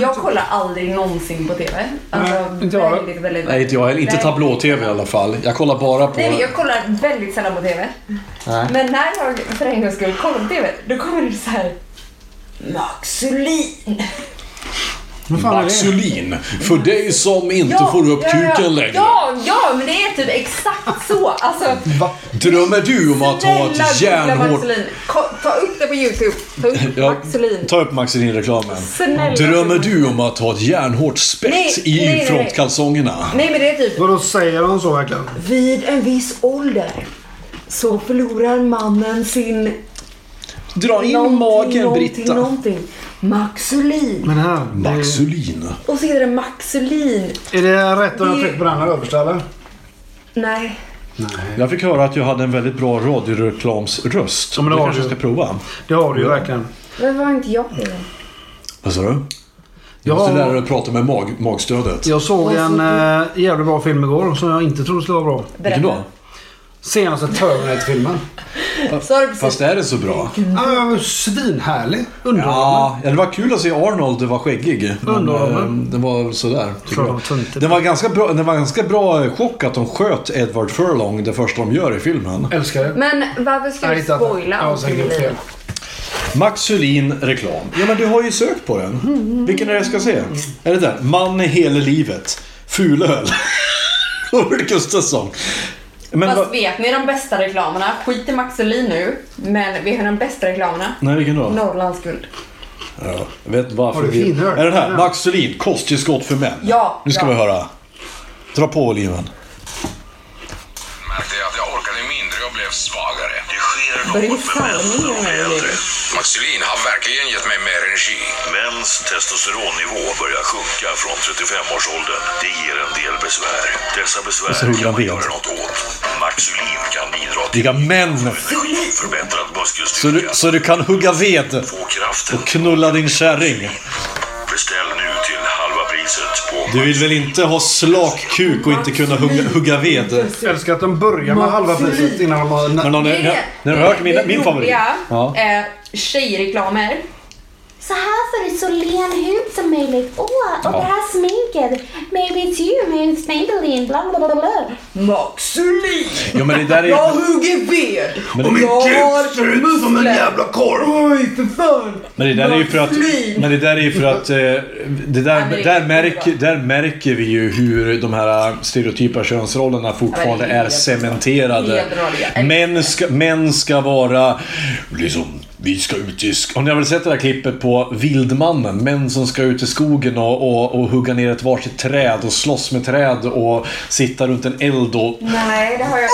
Speaker 2: Jag kollar aldrig någonsin på TV. Alltså,
Speaker 1: Nej, inte jag.
Speaker 2: väldigt, väldigt...
Speaker 3: Nej, inte jag heller. Inte
Speaker 2: Nej.
Speaker 3: tablå-tv i alla fall. Jag kollar bara på...
Speaker 2: Nej, men jag kollar väldigt sällan på TV.
Speaker 3: Nej.
Speaker 2: Men när jag för en gångs skull kollar på TV, då kommer det så här... Maxulin!
Speaker 1: Vad fan är det?
Speaker 3: Maxulin, för dig som inte får upp
Speaker 2: ja, ja.
Speaker 3: kuken längre.
Speaker 2: Ja, ja, men det är typ exakt så.
Speaker 3: (laughs)
Speaker 2: Alltså,
Speaker 3: Drömmer du om att ha
Speaker 2: snälla
Speaker 3: ett
Speaker 2: googla
Speaker 3: järnhårt...
Speaker 2: Maxulin. Ko- Ta upp det på YouTube. Ta upp
Speaker 3: (laughs) Ja,
Speaker 2: Maxulin.
Speaker 3: Ta upp Maxulin-reklamen.
Speaker 2: Snälla.
Speaker 3: Drömmer du om att ha ett järnhårt spett
Speaker 2: Nej, nej,
Speaker 3: i
Speaker 2: nej.
Speaker 3: frontkalsongerna?
Speaker 2: Nej, men det är typ...
Speaker 1: Vadå, säger han så verkligen?
Speaker 2: Vid en viss ålder så förlorar mannen sin...
Speaker 3: Dra in
Speaker 2: någonting,
Speaker 3: magen,
Speaker 2: någonting,
Speaker 3: Britta.
Speaker 2: Någonting, Maxulin.
Speaker 1: Men här. det-
Speaker 3: Maxulin.
Speaker 2: Och så heter det Maxulin.
Speaker 1: Är det rätt om jag
Speaker 2: Det-
Speaker 1: trycker på den här översta eller?
Speaker 2: Nej.
Speaker 1: Nej.
Speaker 3: Jag fick höra att jag hade en väldigt bra radioreklamsröst.
Speaker 1: Ja, men det
Speaker 3: det
Speaker 1: har
Speaker 3: kanske jag
Speaker 1: du.
Speaker 3: ska prova.
Speaker 1: Det har du ju verkligen.
Speaker 2: Varför var inte jag på det?
Speaker 3: Vad sa du? Jag
Speaker 1: Ja.
Speaker 3: måste lära dig att prata med mag, magstödet.
Speaker 1: Jag såg en eh, jävligt bra film igår som jag inte trodde skulle vara bra.
Speaker 3: Vilken då?
Speaker 1: Senaste Terminator-filmen.
Speaker 2: Mm. Så har du precis...
Speaker 3: Fast är det så bra?
Speaker 1: Ja, men den var Svinhärlig. Underhållande.
Speaker 3: Ja, ja, det var kul att se Arnold var skäggig. Men,
Speaker 1: Underhållande.
Speaker 3: eh, det var sådär. tycker
Speaker 1: Tror jag
Speaker 3: jag.
Speaker 1: var tungt.
Speaker 3: Det var ganska bra, det var ganska bra eh, chock att de sköt Edward Furlong det första de gör i filmen.
Speaker 1: Älskar det.
Speaker 2: Men varför ska
Speaker 1: Jag har
Speaker 2: du
Speaker 1: hittat
Speaker 2: spoila
Speaker 1: den. Ja,
Speaker 2: allting
Speaker 1: säkert
Speaker 2: i
Speaker 1: gjort fel.
Speaker 2: livet?
Speaker 3: Max Sylin reklam. Ja men du har ju sökt på den. Vilken är det jag ska se?
Speaker 1: Mm.
Speaker 3: Är det där? Man är hela livet. Fulöl. (laughs) Robert Gustafsson. Men va...
Speaker 2: Fast vet ni de bästa reklamerna? Skit i Maxelin nu, men vet ni de bästa reklamerna?
Speaker 3: Nej, vilken då?
Speaker 2: Norrlands guld.
Speaker 3: Ja, jag vet inte varför
Speaker 1: Har du
Speaker 3: vi...
Speaker 1: finhört?
Speaker 3: Är den här?
Speaker 1: Ja.
Speaker 3: Max Sylin, kosttillskott för män.
Speaker 2: Ja,
Speaker 3: Nu ska
Speaker 2: ja.
Speaker 3: vi höra. Dra på oliven.
Speaker 4: märkte jag att jag orkade mindre och blev svagare. Det sker
Speaker 2: Börje Salming är med i livet.
Speaker 4: Maxilin har verkligen gett mig mer energi. Mäns testosteronnivå börjar sjunka från 35-årsåldern. Det ger en del besvär. Dessa besvär
Speaker 3: Och så alltså. hugger
Speaker 4: kan
Speaker 3: han
Speaker 4: man
Speaker 3: ved.
Speaker 4: göra något åt. Maxilin kan bidra till
Speaker 3: Vilka män!
Speaker 4: energi, förbättrad
Speaker 3: Så du,
Speaker 4: muskelstyrka,
Speaker 3: så du kan hugga ved
Speaker 4: få kraften.
Speaker 3: och knulla din kärring.
Speaker 4: Beställ nu till halva priset på
Speaker 3: Du vill väl inte ha slakkuk och inte kunna hugga, hugga ved?
Speaker 1: Älskar att de börjar med halva priset innan de har...
Speaker 3: Men har ni,
Speaker 2: Det
Speaker 3: ni,
Speaker 2: är det.
Speaker 3: ni har hört min,
Speaker 2: Det är
Speaker 3: min favorit?
Speaker 2: roliga,
Speaker 3: Ja.
Speaker 2: eh, tjejreklamer.
Speaker 5: Så här får du så len hud som möjligt. Åh, och det här sminket. Maybe it's you, maybe it's Maybelline, bla bla bla bla.
Speaker 2: Maxulin!
Speaker 3: Jo, men det där är-
Speaker 2: Jag hugger ved!
Speaker 3: Men det-
Speaker 2: Och jag har muskler!
Speaker 4: korv!
Speaker 2: Oj, för fan!
Speaker 3: Men det där är ju för att...
Speaker 2: Maxulin.
Speaker 3: Men det där är ju för att... eh, Det
Speaker 2: Ja, men
Speaker 3: där,
Speaker 2: det
Speaker 3: där,
Speaker 2: är
Speaker 3: märker,
Speaker 2: jättebra.
Speaker 3: där märker vi ju hur de här stereotypa könsrollerna
Speaker 2: Ja, men
Speaker 3: fortfarande
Speaker 2: det är
Speaker 3: är
Speaker 2: helt-
Speaker 3: cementerade.
Speaker 2: helt roliga.
Speaker 3: Män ska, män ska vara... Liksom, vi ska ut i... sk- Om ni har väl sett det där klippet på Vildmannen? Män som ska ut i skogen och, och, och hugga ner ett varsitt träd och slåss med träd och sitta runt en eld och
Speaker 2: Nej, det har jag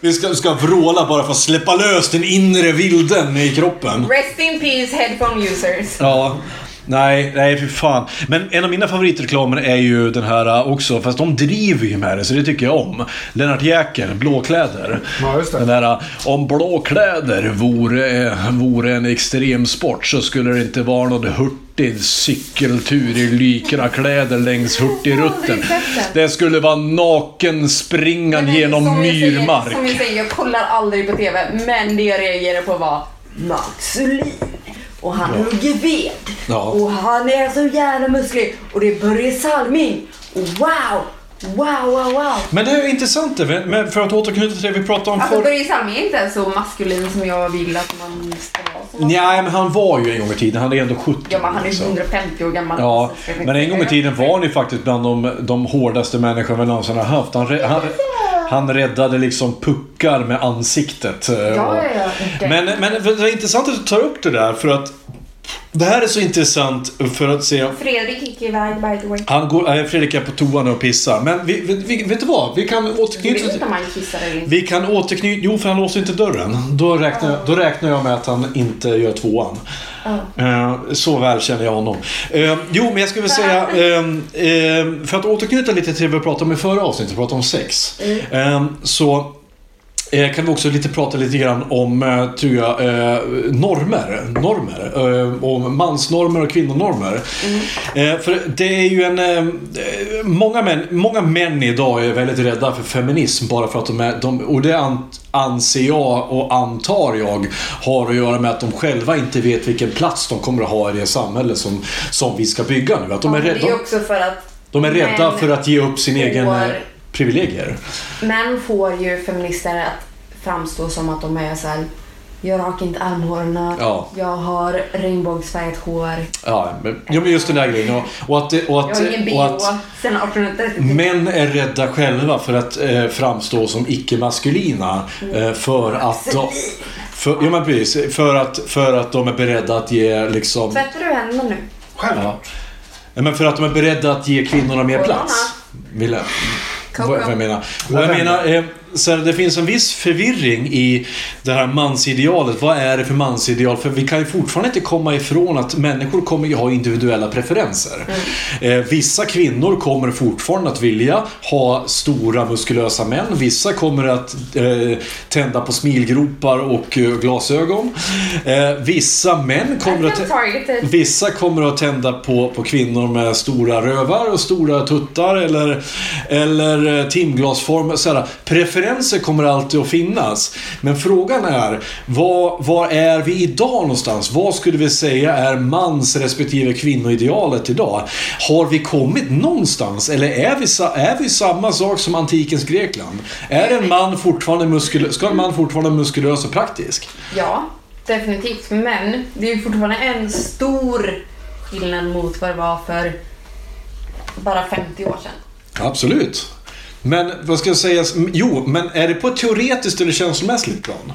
Speaker 3: Vi ska, ska vråla bara för att släppa lös den inre vilden i kroppen.
Speaker 2: Rest in peace headphone users.
Speaker 3: Ja. Nej, nej för fan. Men en av mina favoritreklamer är ju den här äh, också, fast de driver ju med det så det tycker jag om. Lennart Jäkel, Blåkläder.
Speaker 1: Ja, just det.
Speaker 3: Den där, äh, om blåkläder vore, vore en extremsport så skulle det inte vara någon hurtig cykeltur i lycrakläder längs hurtigrutten.
Speaker 2: Aldrig sett den.
Speaker 3: Det skulle vara naken springan
Speaker 2: Men
Speaker 3: genom
Speaker 2: som jag säger- Som jag
Speaker 3: myrmark.
Speaker 2: säger, jag kollar aldrig på TV, men det jag reagerade på var Max Uhlin. Och han hugger ved.
Speaker 3: Ja.
Speaker 2: Och han är så jävla musklig. Och det är Börje Salming. Och wow! Wow, wow, wow.
Speaker 3: Men det är intressant det, men- men för att återknyta till det vi pratade om
Speaker 2: Alltså
Speaker 3: förut.
Speaker 2: Börje Salming är inte så maskulin som jag vill att man ska vara. Som man-
Speaker 3: Nej, men han var ju en gång i tiden, han är ändå 70.
Speaker 2: Ja, men han är
Speaker 3: liksom.
Speaker 2: 150 år gammal.
Speaker 3: Ja,
Speaker 2: Så ska vi
Speaker 3: men en
Speaker 2: inte-
Speaker 3: gång i tiden var han ju faktiskt bland de, de hårdaste människor vi någonsin har haft. Han, rä- han, han räddade liksom puckar med ansiktet. eh,
Speaker 2: Ja, ja, ja.
Speaker 3: och- Men, men det är intressant att du tar upp det där för att det här är så intressant för att se
Speaker 2: Fredrik gick iväg by the way.
Speaker 3: han går, nej, Fredrik är på toan och pissar. Men vi, vi, vi, vet du vad? Vi kan
Speaker 2: Jag vet
Speaker 3: återknyta
Speaker 2: inte om han kissar eller inte.
Speaker 3: Vi kan återknyta... Jo, för han låser inte dörren. Då räknar, jag, då räknar jag med att han inte gör tvåan. Eh, Så väl känner jag honom. Eh, Jo, men jag skulle vilja säga... eh, eh, För att återknyta lite till det vi pratade om i förra avsnittet, vi pratade om sex. Eh, Så eh, kan vi också lite prata lite grann om, eh, tror jag, eh, normer. Normer. Eh, Om mansnormer och kvinnonormer.
Speaker 2: Mm.
Speaker 3: Eh, För det är ju en... eh, eh, Många män, många män idag är väldigt rädda för feminism bara för att de är... De, och det an, anser jag och antar jag har att göra med att de själva inte vet vilken plats de kommer att ha i det samhälle som, som vi ska bygga nu. Att de är
Speaker 2: Men Det
Speaker 3: rädda,
Speaker 2: är också för att
Speaker 3: de är rädda
Speaker 2: män
Speaker 3: för att ge upp sin egen eh,
Speaker 2: får-
Speaker 3: privilegier.
Speaker 2: Män får ju feminister att framstå som att de är så här. Jag rakar inte armhålorna.
Speaker 3: Ja.
Speaker 2: Jag har regnbågsfärgat hår.
Speaker 3: Ja, men, ja, men just den där grejen. Och, och att, det- och
Speaker 2: Jag
Speaker 3: att,
Speaker 2: har ingen
Speaker 3: och
Speaker 2: bh
Speaker 3: att
Speaker 2: sen 1830.
Speaker 3: män är rädda själva för att eh, framstå som icke-maskulina.
Speaker 2: Mm.
Speaker 3: Eh, för att de... För, ja, men precis. För att, för att de är beredda att ge liksom...
Speaker 2: Tvättar du händerna nu?
Speaker 3: Ja. Ja, men för att de är beredda att ge kvinnorna mer
Speaker 2: Och
Speaker 3: plats. Vill jag.
Speaker 2: Coco.
Speaker 3: Vad jag menar. Vad jag menar eh, så här, det finns en viss förvirring i det här mansidealet. Vad är det för mansideal? För vi kan ju fortfarande inte komma ifrån att människor kommer ju ha individuella preferenser. Eh, vissa kvinnor kommer fortfarande att vilja ha stora muskulösa män. Vissa kommer att eh, tända på smilgropar och eh, glasögon. Eh, vissa män kommer
Speaker 2: I'm
Speaker 3: att...
Speaker 2: targeted.
Speaker 3: Vissa kommer att tända på, på kvinnor med stora rövar och stora tuttar eller, eller eh, timglasformer. Så här, preferenser kommer alltid att finnas. Men frågan är, vad, vad är vi idag någonstans? Vad skulle vi säga är mans respektive kvinnoidealet idag? Har vi kommit någonstans? Eller är vi, sa- är vi samma sak som antikens Grekland? Är en man fortfarande muskulös? Ska en man fortfarande vara muskulös och praktisk?
Speaker 2: Ja, definitivt. Men det är ju fortfarande en stor skillnad mot vad det var för bara 50 år sedan.
Speaker 3: Absolut. Men vad ska jag säga? Jo, men är det på ett teoretiskt eller känslomässigt plan?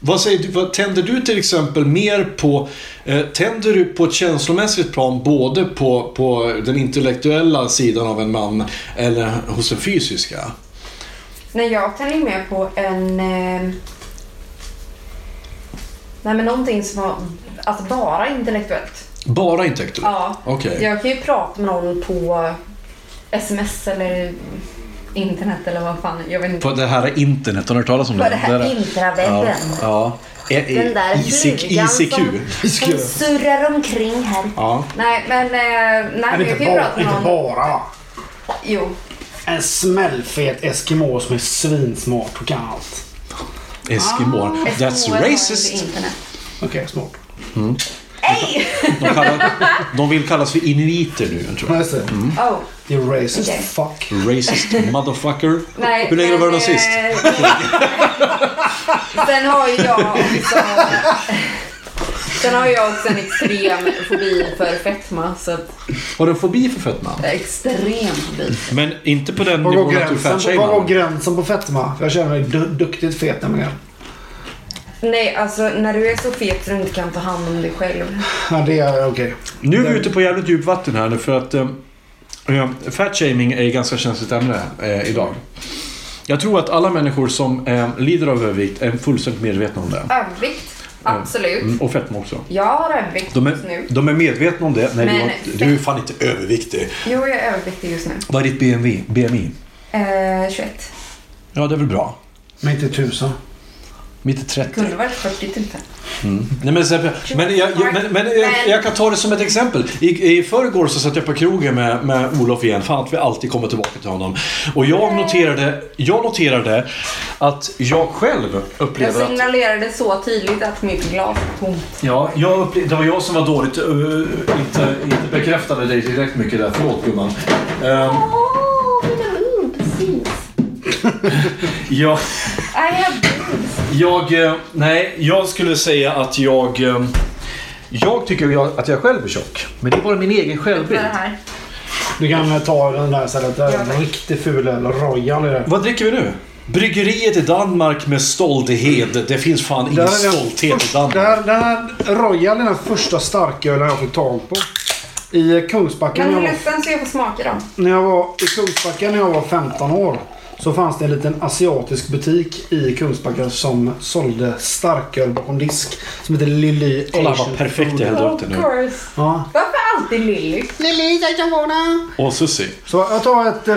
Speaker 3: Vad säger du? Vad, tänder du till exempel mer på... Eh, tänder du på ett känslomässigt plan både på, på den intellektuella sidan av en man eller hos den fysiska?
Speaker 2: Nej, jag tänder ju med på en... Eh... Nej, men någonting som var... Alltså bara intellektuellt.
Speaker 3: Bara intellektuellt?
Speaker 2: Ja.
Speaker 3: Okej.
Speaker 2: Jag kan ju prata med någon på sms eller internet eller vad fan. Jag vet inte.
Speaker 3: På det här internet, har du hört talas om
Speaker 2: På
Speaker 3: det?
Speaker 2: det här
Speaker 3: Där-
Speaker 5: intranätet.
Speaker 3: Ja. ja. E- e-
Speaker 5: Den där
Speaker 3: IC-
Speaker 5: flugan
Speaker 3: ICQ.
Speaker 5: som, som surrar omkring här.
Speaker 3: Ja.
Speaker 2: Nej, men... Eh,
Speaker 1: Men
Speaker 2: nej, jag
Speaker 1: inte,
Speaker 2: kan ju prata
Speaker 1: bara,
Speaker 2: med
Speaker 1: inte
Speaker 2: någon...
Speaker 1: bara.
Speaker 2: Jo.
Speaker 1: En smällfet Eskimo som är svinsmart och kan allt.
Speaker 3: Eskimo.
Speaker 2: SOS
Speaker 3: That's
Speaker 2: har jag
Speaker 3: racist.
Speaker 2: inte internet.
Speaker 1: Okej, smart.
Speaker 3: De, kallar, de vill kallas för inuiter nu, tror jag.
Speaker 1: Nice.
Speaker 2: Oh.
Speaker 1: You're racist
Speaker 2: Okej.
Speaker 1: fuck.
Speaker 3: Racist motherfucker.
Speaker 2: Nej,
Speaker 3: Hur länge har du varit
Speaker 2: men,
Speaker 3: nazist?
Speaker 2: eh, (laughs) Sen har ju jag också... Sen har jag också en extrem fobi för fetma. Så att,
Speaker 3: Har du en fobi för fetma?
Speaker 2: extrem fobi.
Speaker 3: Men inte på den
Speaker 1: Var går,
Speaker 3: nivån att du
Speaker 1: gränsen, var går
Speaker 3: fatshamear.
Speaker 1: gränsen på fetma? Jag känner mig du, duktigt fet nämligen.
Speaker 2: Nej, alltså när du är så fet så du inte kan ta hand om dig själv.
Speaker 1: Ja, det är okej.
Speaker 3: Nu är vi ute på jävligt djupt vatten här nu för att eh, fatshaming är ett ganska känsligt ämne eh, idag. Jag tror att alla människor som eh, lider av övervikt är fullständigt medvetna om det.
Speaker 2: Övervikt, absolut.
Speaker 3: Mm, och fetma också.
Speaker 2: Jag har övervikt
Speaker 3: De
Speaker 2: just nu.
Speaker 3: är, de är medvetna om det. Nej,
Speaker 2: Men
Speaker 3: Johan,
Speaker 2: fett-
Speaker 3: du är fan inte överviktig.
Speaker 2: Jo, jag är överviktig just nu.
Speaker 3: Vad är ditt BMI? BMI?
Speaker 2: Eh, 21.
Speaker 3: Ja, det är väl bra.
Speaker 1: Men inte tusen.
Speaker 3: Mitt i 30.
Speaker 2: Kunde varit 40 typ.
Speaker 3: Nej, men, så- men, jag, jag, men, men jag, jag kan ta det som ett exempel. I, i förrgår så satt jag på krogen med, med Olof igen. Fan att vi alltid kommer tillbaka till honom. Och jag noterade, jag noterade att jag själv
Speaker 2: Jag
Speaker 3: upplever att...
Speaker 2: signalerade så tydligt att mitt glas var tomt.
Speaker 3: Ja, jag upple- det var jag som var dåligt... eh, inte, inte bekräftade dig tillräckligt mycket där. Förlåt gumman. Ehm,
Speaker 5: Åh, mina boobs syns.
Speaker 3: jag...
Speaker 2: I have boobs.
Speaker 3: Jag, eh, nej, jag skulle säga att jag... eh, Jag tycker jag, att jag själv är tjock. Men det är bara min egen
Speaker 2: Vad
Speaker 3: självbild.
Speaker 2: är det här?
Speaker 1: Du kan eh, ta den där istället. Det är
Speaker 2: Ja.
Speaker 1: en riktigt ful öl. Royal är det.
Speaker 3: Vad dricker vi nu? Bryggeriet i Danmark med stolthet. Det finns fan
Speaker 1: Där
Speaker 3: ingen
Speaker 1: är den
Speaker 3: stolthet i
Speaker 1: första-
Speaker 3: Danmark.
Speaker 1: där- Den här Royal är den första starkölen jag fick tag på. I Kungsbacka
Speaker 2: Men
Speaker 1: när jag
Speaker 2: håll
Speaker 1: var
Speaker 2: luften så jag får smaka dem.
Speaker 1: När jag var i Kungsbacka när jag var 15 år så fanns det en liten asiatisk butik i Kungsbacka som sålde starköl bakom disk som hette Lily
Speaker 3: Kolla
Speaker 1: Asian
Speaker 3: vad perfekt jag
Speaker 1: Food.
Speaker 3: hällde upp det nu.
Speaker 2: course.
Speaker 1: Ja.
Speaker 2: Varför alltid Lilly?
Speaker 1: Lily Asian Food.
Speaker 3: Och Susie.
Speaker 1: Så jag tar ett eh,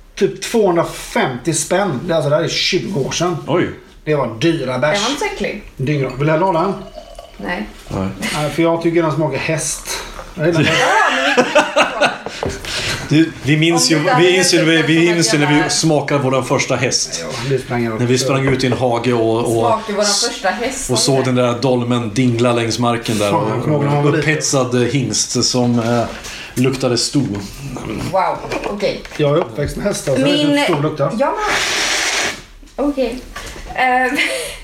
Speaker 1: typ 250 spänn. Det, är alltså, det här är 20 år sedan.
Speaker 3: Oj.
Speaker 1: Det var dyra
Speaker 2: Den var
Speaker 1: bärs.
Speaker 2: inte så äcklig.
Speaker 1: Dyra. Vill du ha lådan?
Speaker 2: Nej.
Speaker 3: Nej.
Speaker 1: Nej, för jag tycker den smakar häst. Jag
Speaker 3: (laughs)
Speaker 1: vet inte.
Speaker 3: Du, vi minns ju,
Speaker 2: Om det där
Speaker 3: vi
Speaker 2: är
Speaker 3: minns ju, vi,
Speaker 2: hästen som
Speaker 3: vi minns ju
Speaker 2: man
Speaker 3: när vi
Speaker 2: gör.
Speaker 3: smakade vår första häst.
Speaker 1: Det sprang jag upp.
Speaker 3: När vi sprang ut i en hage och, och,
Speaker 2: Smakade våran första häst.
Speaker 3: och såg den där dolmen dingla längs marken där.
Speaker 1: Fan, jag kommer ihåg när man
Speaker 3: Och
Speaker 1: var liten.
Speaker 3: upphetsad hingst som eh, luktade sto.
Speaker 2: Wow, okej.
Speaker 1: Jag är uppväxt med hästar så jag vet
Speaker 3: typ
Speaker 2: Min...
Speaker 1: inte hur stor luktar.
Speaker 2: Ja, men-
Speaker 5: Okej.
Speaker 2: Ehm,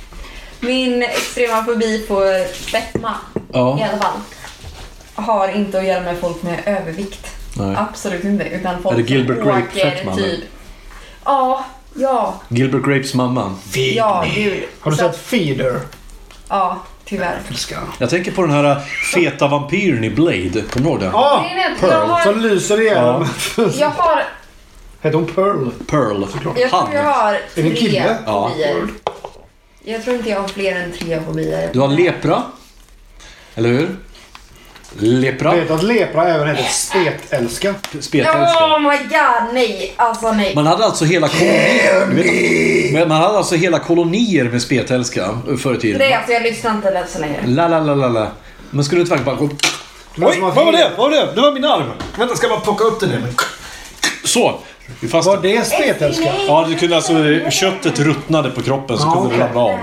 Speaker 2: (laughs) Min extrema fobi på fetma i
Speaker 3: Ja.
Speaker 2: alla fall har inte att göra med folk med övervikt.
Speaker 3: Nej.
Speaker 2: Absolut inte. Utan folk
Speaker 3: Är det Gilbert
Speaker 2: som
Speaker 3: Grape
Speaker 2: åker
Speaker 3: fetma,
Speaker 2: typ... Ja, ja,
Speaker 3: Gilbert Grapes mamma.
Speaker 2: ja, gud.
Speaker 1: Har du
Speaker 2: Så-
Speaker 1: sett Feeder?
Speaker 2: Ja, tyvärr.
Speaker 3: Alltså-
Speaker 1: Älskar den.
Speaker 3: Jag tänker på den här eh, feta vampyren i Blade. Kommer du ihåg det?
Speaker 1: Ja!
Speaker 2: Grejen är att jag
Speaker 1: Ah, Pearl.
Speaker 2: har-
Speaker 1: Som lyser ihjäl
Speaker 3: Ja.
Speaker 2: Jag har...
Speaker 1: (laughs) Heter hon Pearl?
Speaker 3: Pearl.
Speaker 2: Jag tror jag har
Speaker 1: det en
Speaker 2: tre
Speaker 1: kille?
Speaker 3: Ja.
Speaker 2: fobier. Jag tror inte jag har fler än tre fobier.
Speaker 3: Du har lepra. Eller hur? Lepra.
Speaker 1: Vet att lepra även heter spetälska?
Speaker 3: Spetälska.
Speaker 2: Oh my god, nej. Alltså nej.
Speaker 3: Man hade alltså hela kolonier. du vet- men Man hade alltså hela kolonier med spetälska förr i
Speaker 2: Nej,
Speaker 3: tiden.
Speaker 2: alltså jag lyssnar inte lätt så länge.
Speaker 3: La, la, la, la, la. Men skulle du inte verkligen bara...
Speaker 1: Men som att-
Speaker 3: Vad var det? Det var min arm. Vänta, ska jag bara plocka upp den här? Så! Vi fastnar.
Speaker 1: Var det spetälska?
Speaker 5: Nej,
Speaker 3: Ja, det kunde alltså... Köttet ruttnade på kroppen så
Speaker 1: Ja,
Speaker 3: kunde det
Speaker 1: okej.
Speaker 3: ramla av.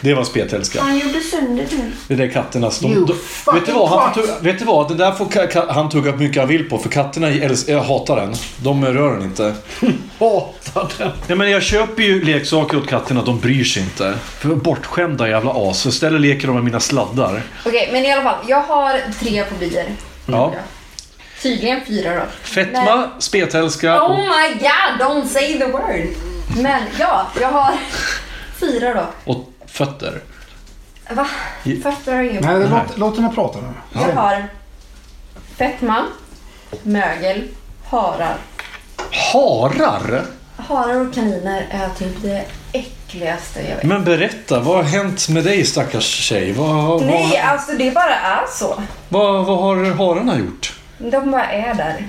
Speaker 3: Det var spetälska.
Speaker 5: Han gjorde sönder den.
Speaker 3: Det där katternas... De,
Speaker 1: You
Speaker 3: de,
Speaker 1: fucking
Speaker 3: vet, du vad, han, får
Speaker 1: twat.
Speaker 3: tugga- vet du vad? Det där får ka, ka, han tugga hur mycket han vill på för katterna älsk, jag hatar den. De rör den inte.
Speaker 1: (laughs) Hatar den.
Speaker 3: Nej men jag köper ju leksaker åt katterna, de bryr sig inte. För bortskämda jävla as. Så Istället leker de med mina sladdar.
Speaker 2: Okej, men i alla fall. Jag har tre fobier.
Speaker 3: Ja.
Speaker 1: Mm.
Speaker 2: Tydligen fyra då.
Speaker 3: Fetma, spetälska
Speaker 2: Oh
Speaker 3: och...
Speaker 2: my god, don't say the word. Men ja, jag har (laughs) fyra då.
Speaker 3: och fötter.
Speaker 2: Va? Fötter har jag ingen.
Speaker 1: Nej, låt, låt henne prata nu.
Speaker 2: Jag har fetma, mögel, harar.
Speaker 3: Harar?
Speaker 2: Harar och kaniner är typ det äckligaste jag vet.
Speaker 3: Men berätta, vad har hänt med dig stackars tjej? Vad,
Speaker 2: Nej,
Speaker 3: vad,
Speaker 2: alltså det bara är så.
Speaker 3: vad, vad har hararna gjort?
Speaker 2: De bara är där.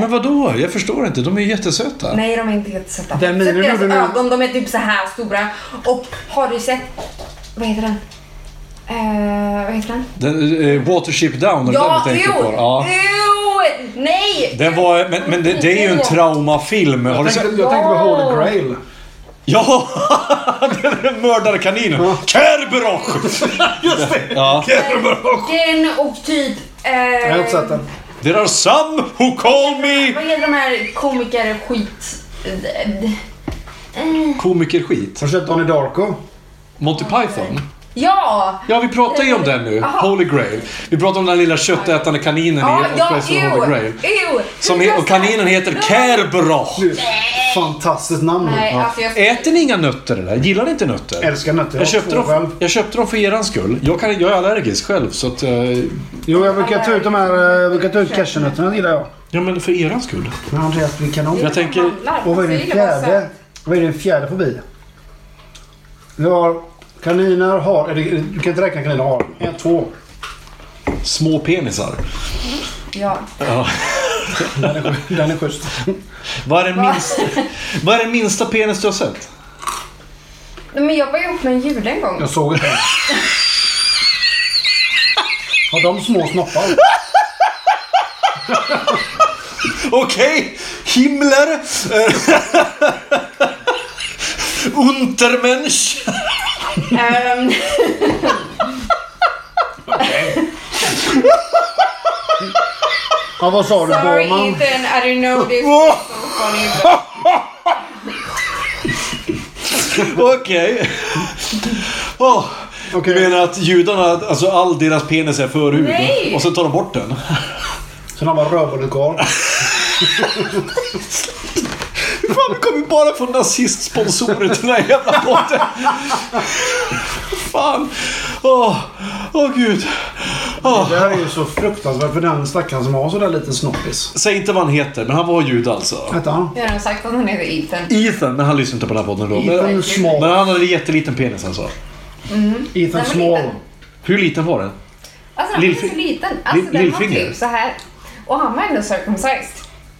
Speaker 3: Men vad då? Jag förstår inte, de är ju jättesöta.
Speaker 2: (laughs) Nej, de är inte jättesöta.
Speaker 1: Den
Speaker 2: Sätt
Speaker 1: minen
Speaker 2: deras
Speaker 1: gjorde nu-
Speaker 2: ögon, de är typ så här stora. Och har du sett... Vad heter den? Eh, vad heter den?
Speaker 3: Den, eh, Watership Down, är det
Speaker 2: Ja,
Speaker 3: den du tänker på? Ja.
Speaker 2: ew, nej!
Speaker 3: Den var, men men det, det är ju en traumafilm. Har du
Speaker 1: Jag
Speaker 3: sett?
Speaker 1: tänkte, jag tänkte på Holy Grail.
Speaker 3: Ja! (laughs) Den mördade kaninen. Kerberoch! Just det! Ja.
Speaker 2: (laughs) Den och typ... Eh,
Speaker 1: Jag har inte sett den.
Speaker 3: There are some who call me...
Speaker 2: Vad heter de här komikerskit...
Speaker 3: Komikerskit.
Speaker 1: Har du sett Donnie Darko?
Speaker 3: Monty Python.
Speaker 2: Ja!
Speaker 3: Ja, vi pratar ju om den nu.
Speaker 2: Aha.
Speaker 3: Holy Grail. Vi pratar om den lilla köttätande kaninen
Speaker 2: Ja,
Speaker 3: i
Speaker 2: ja,
Speaker 3: Operation Holy
Speaker 2: ew!
Speaker 3: Grail.
Speaker 2: ew.
Speaker 3: Som he- och kaninen heter Kerberoch.
Speaker 1: Du, Fantastiskt namn.
Speaker 2: Nej, alltså jag...
Speaker 3: Äter ni inga nötter eller? Gillar ni inte nötter?
Speaker 1: Älskar nötter.
Speaker 3: Jag
Speaker 1: har
Speaker 3: köpte,
Speaker 1: två
Speaker 3: dem,
Speaker 1: själv.
Speaker 3: jag köpte dem för er skull. Jag, kan, jag är allergisk själv så att... eh,
Speaker 1: Jo, jag brukar ta ut de här... eh, Jag brukar ta ut cashewnötterna gillar jag.
Speaker 3: Ja men för er skull.
Speaker 1: Men Andreas blir kanon.
Speaker 3: Jag tänker...
Speaker 2: Handlar,
Speaker 1: Och vad är
Speaker 2: säger
Speaker 1: din
Speaker 2: Alltså, det bara
Speaker 1: fjärde? Vad är din fjärde fobi? Vi har kaniner, har... Eller, du kan inte räkna kaniner, har. En, två.
Speaker 3: Små penisar.
Speaker 2: så. Ja.
Speaker 1: Den är schysst.
Speaker 3: Vad är den minsta, vad är den minsta penis du har sett?
Speaker 2: Nej, Men jag var ihop med en jude en gång.
Speaker 1: Jag såg inte den. Har de små snoppar?
Speaker 3: Okej! Himmler! (laughs) Untermensch!
Speaker 2: Ehm,
Speaker 1: Ja, vad sa du
Speaker 2: Sorry
Speaker 1: Borman?
Speaker 2: Ethan, I don't
Speaker 1: (laughs)
Speaker 2: know this was so funny. but-
Speaker 3: Okej. Åh,
Speaker 1: Okej.
Speaker 3: Du menar att judarna, alltså all deras penis är förhud
Speaker 2: Nej.
Speaker 3: och sen tar de bort den?
Speaker 1: Sen har man rövhålet kvar.
Speaker 3: Fan, vi kommer ju bara få nazistsponsorer till den här jävla podden. Fan. Åh, åh gud. Åh.
Speaker 1: Det här är ju så fruktansvärt för den stackaren som har sådär liten snoppis.
Speaker 3: Säg inte vad han heter, men han var jude alltså.
Speaker 1: Hette han?
Speaker 2: Jag har redan sagt att han heter Ethan.
Speaker 3: Ethan, men han lyssnade inte på den här podden då. Men,
Speaker 1: Ethan
Speaker 3: men
Speaker 1: Small.
Speaker 3: han hade jätteliten penis alltså.
Speaker 1: Ethan
Speaker 2: men
Speaker 1: Small.
Speaker 2: Ethan.
Speaker 3: Hur liten var den?
Speaker 2: Alltså den var
Speaker 3: Lillfi-
Speaker 2: så liten. Alltså
Speaker 3: Lill-
Speaker 2: den var
Speaker 3: lillfinger.
Speaker 2: typ så här. Och han var ändå circumcised.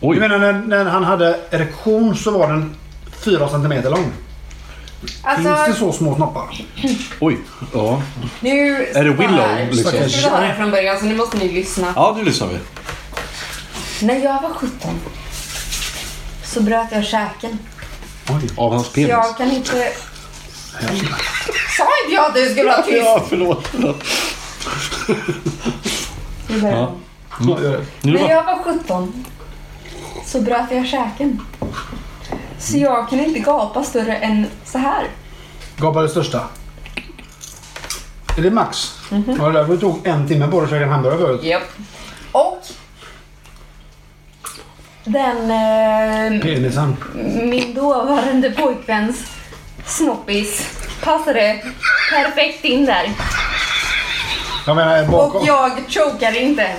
Speaker 1: Du
Speaker 3: Oj.
Speaker 1: menar när, när han hade erektion så var den 4 centimeter lång? Finns det
Speaker 2: Alltså
Speaker 1: så små snoppar?
Speaker 3: Oj. Ja.
Speaker 2: nu...
Speaker 3: Är det Willow, liksom?
Speaker 2: Jag skulle ha det här från början så nu måste ni lyssna.
Speaker 3: Ja, nu lyssnar vi.
Speaker 2: När jag var 17 så bröt jag käken.
Speaker 3: Av hans penis.
Speaker 2: Jag kan inte... Sa inte jag att du skulle vara tyst?
Speaker 3: Ja, förlåt.
Speaker 2: Nu börjar jag om.
Speaker 1: Ja, gör det.
Speaker 3: Nu
Speaker 2: När
Speaker 3: var...
Speaker 2: jag var 17 så bröt jag käken. Så jag kan inte gapa större än så här.
Speaker 1: Gapa det största. Är det max?
Speaker 2: Mhm.
Speaker 1: Ja, det där vi tog en timme på att käka en hamburgare förut.
Speaker 2: Japp. Och den... Eh,
Speaker 1: Penisen.
Speaker 2: min dåvarande pojkväns snoppis passade perfekt in där.
Speaker 1: Jag menar bakom.
Speaker 2: Och jag chokade inte ens.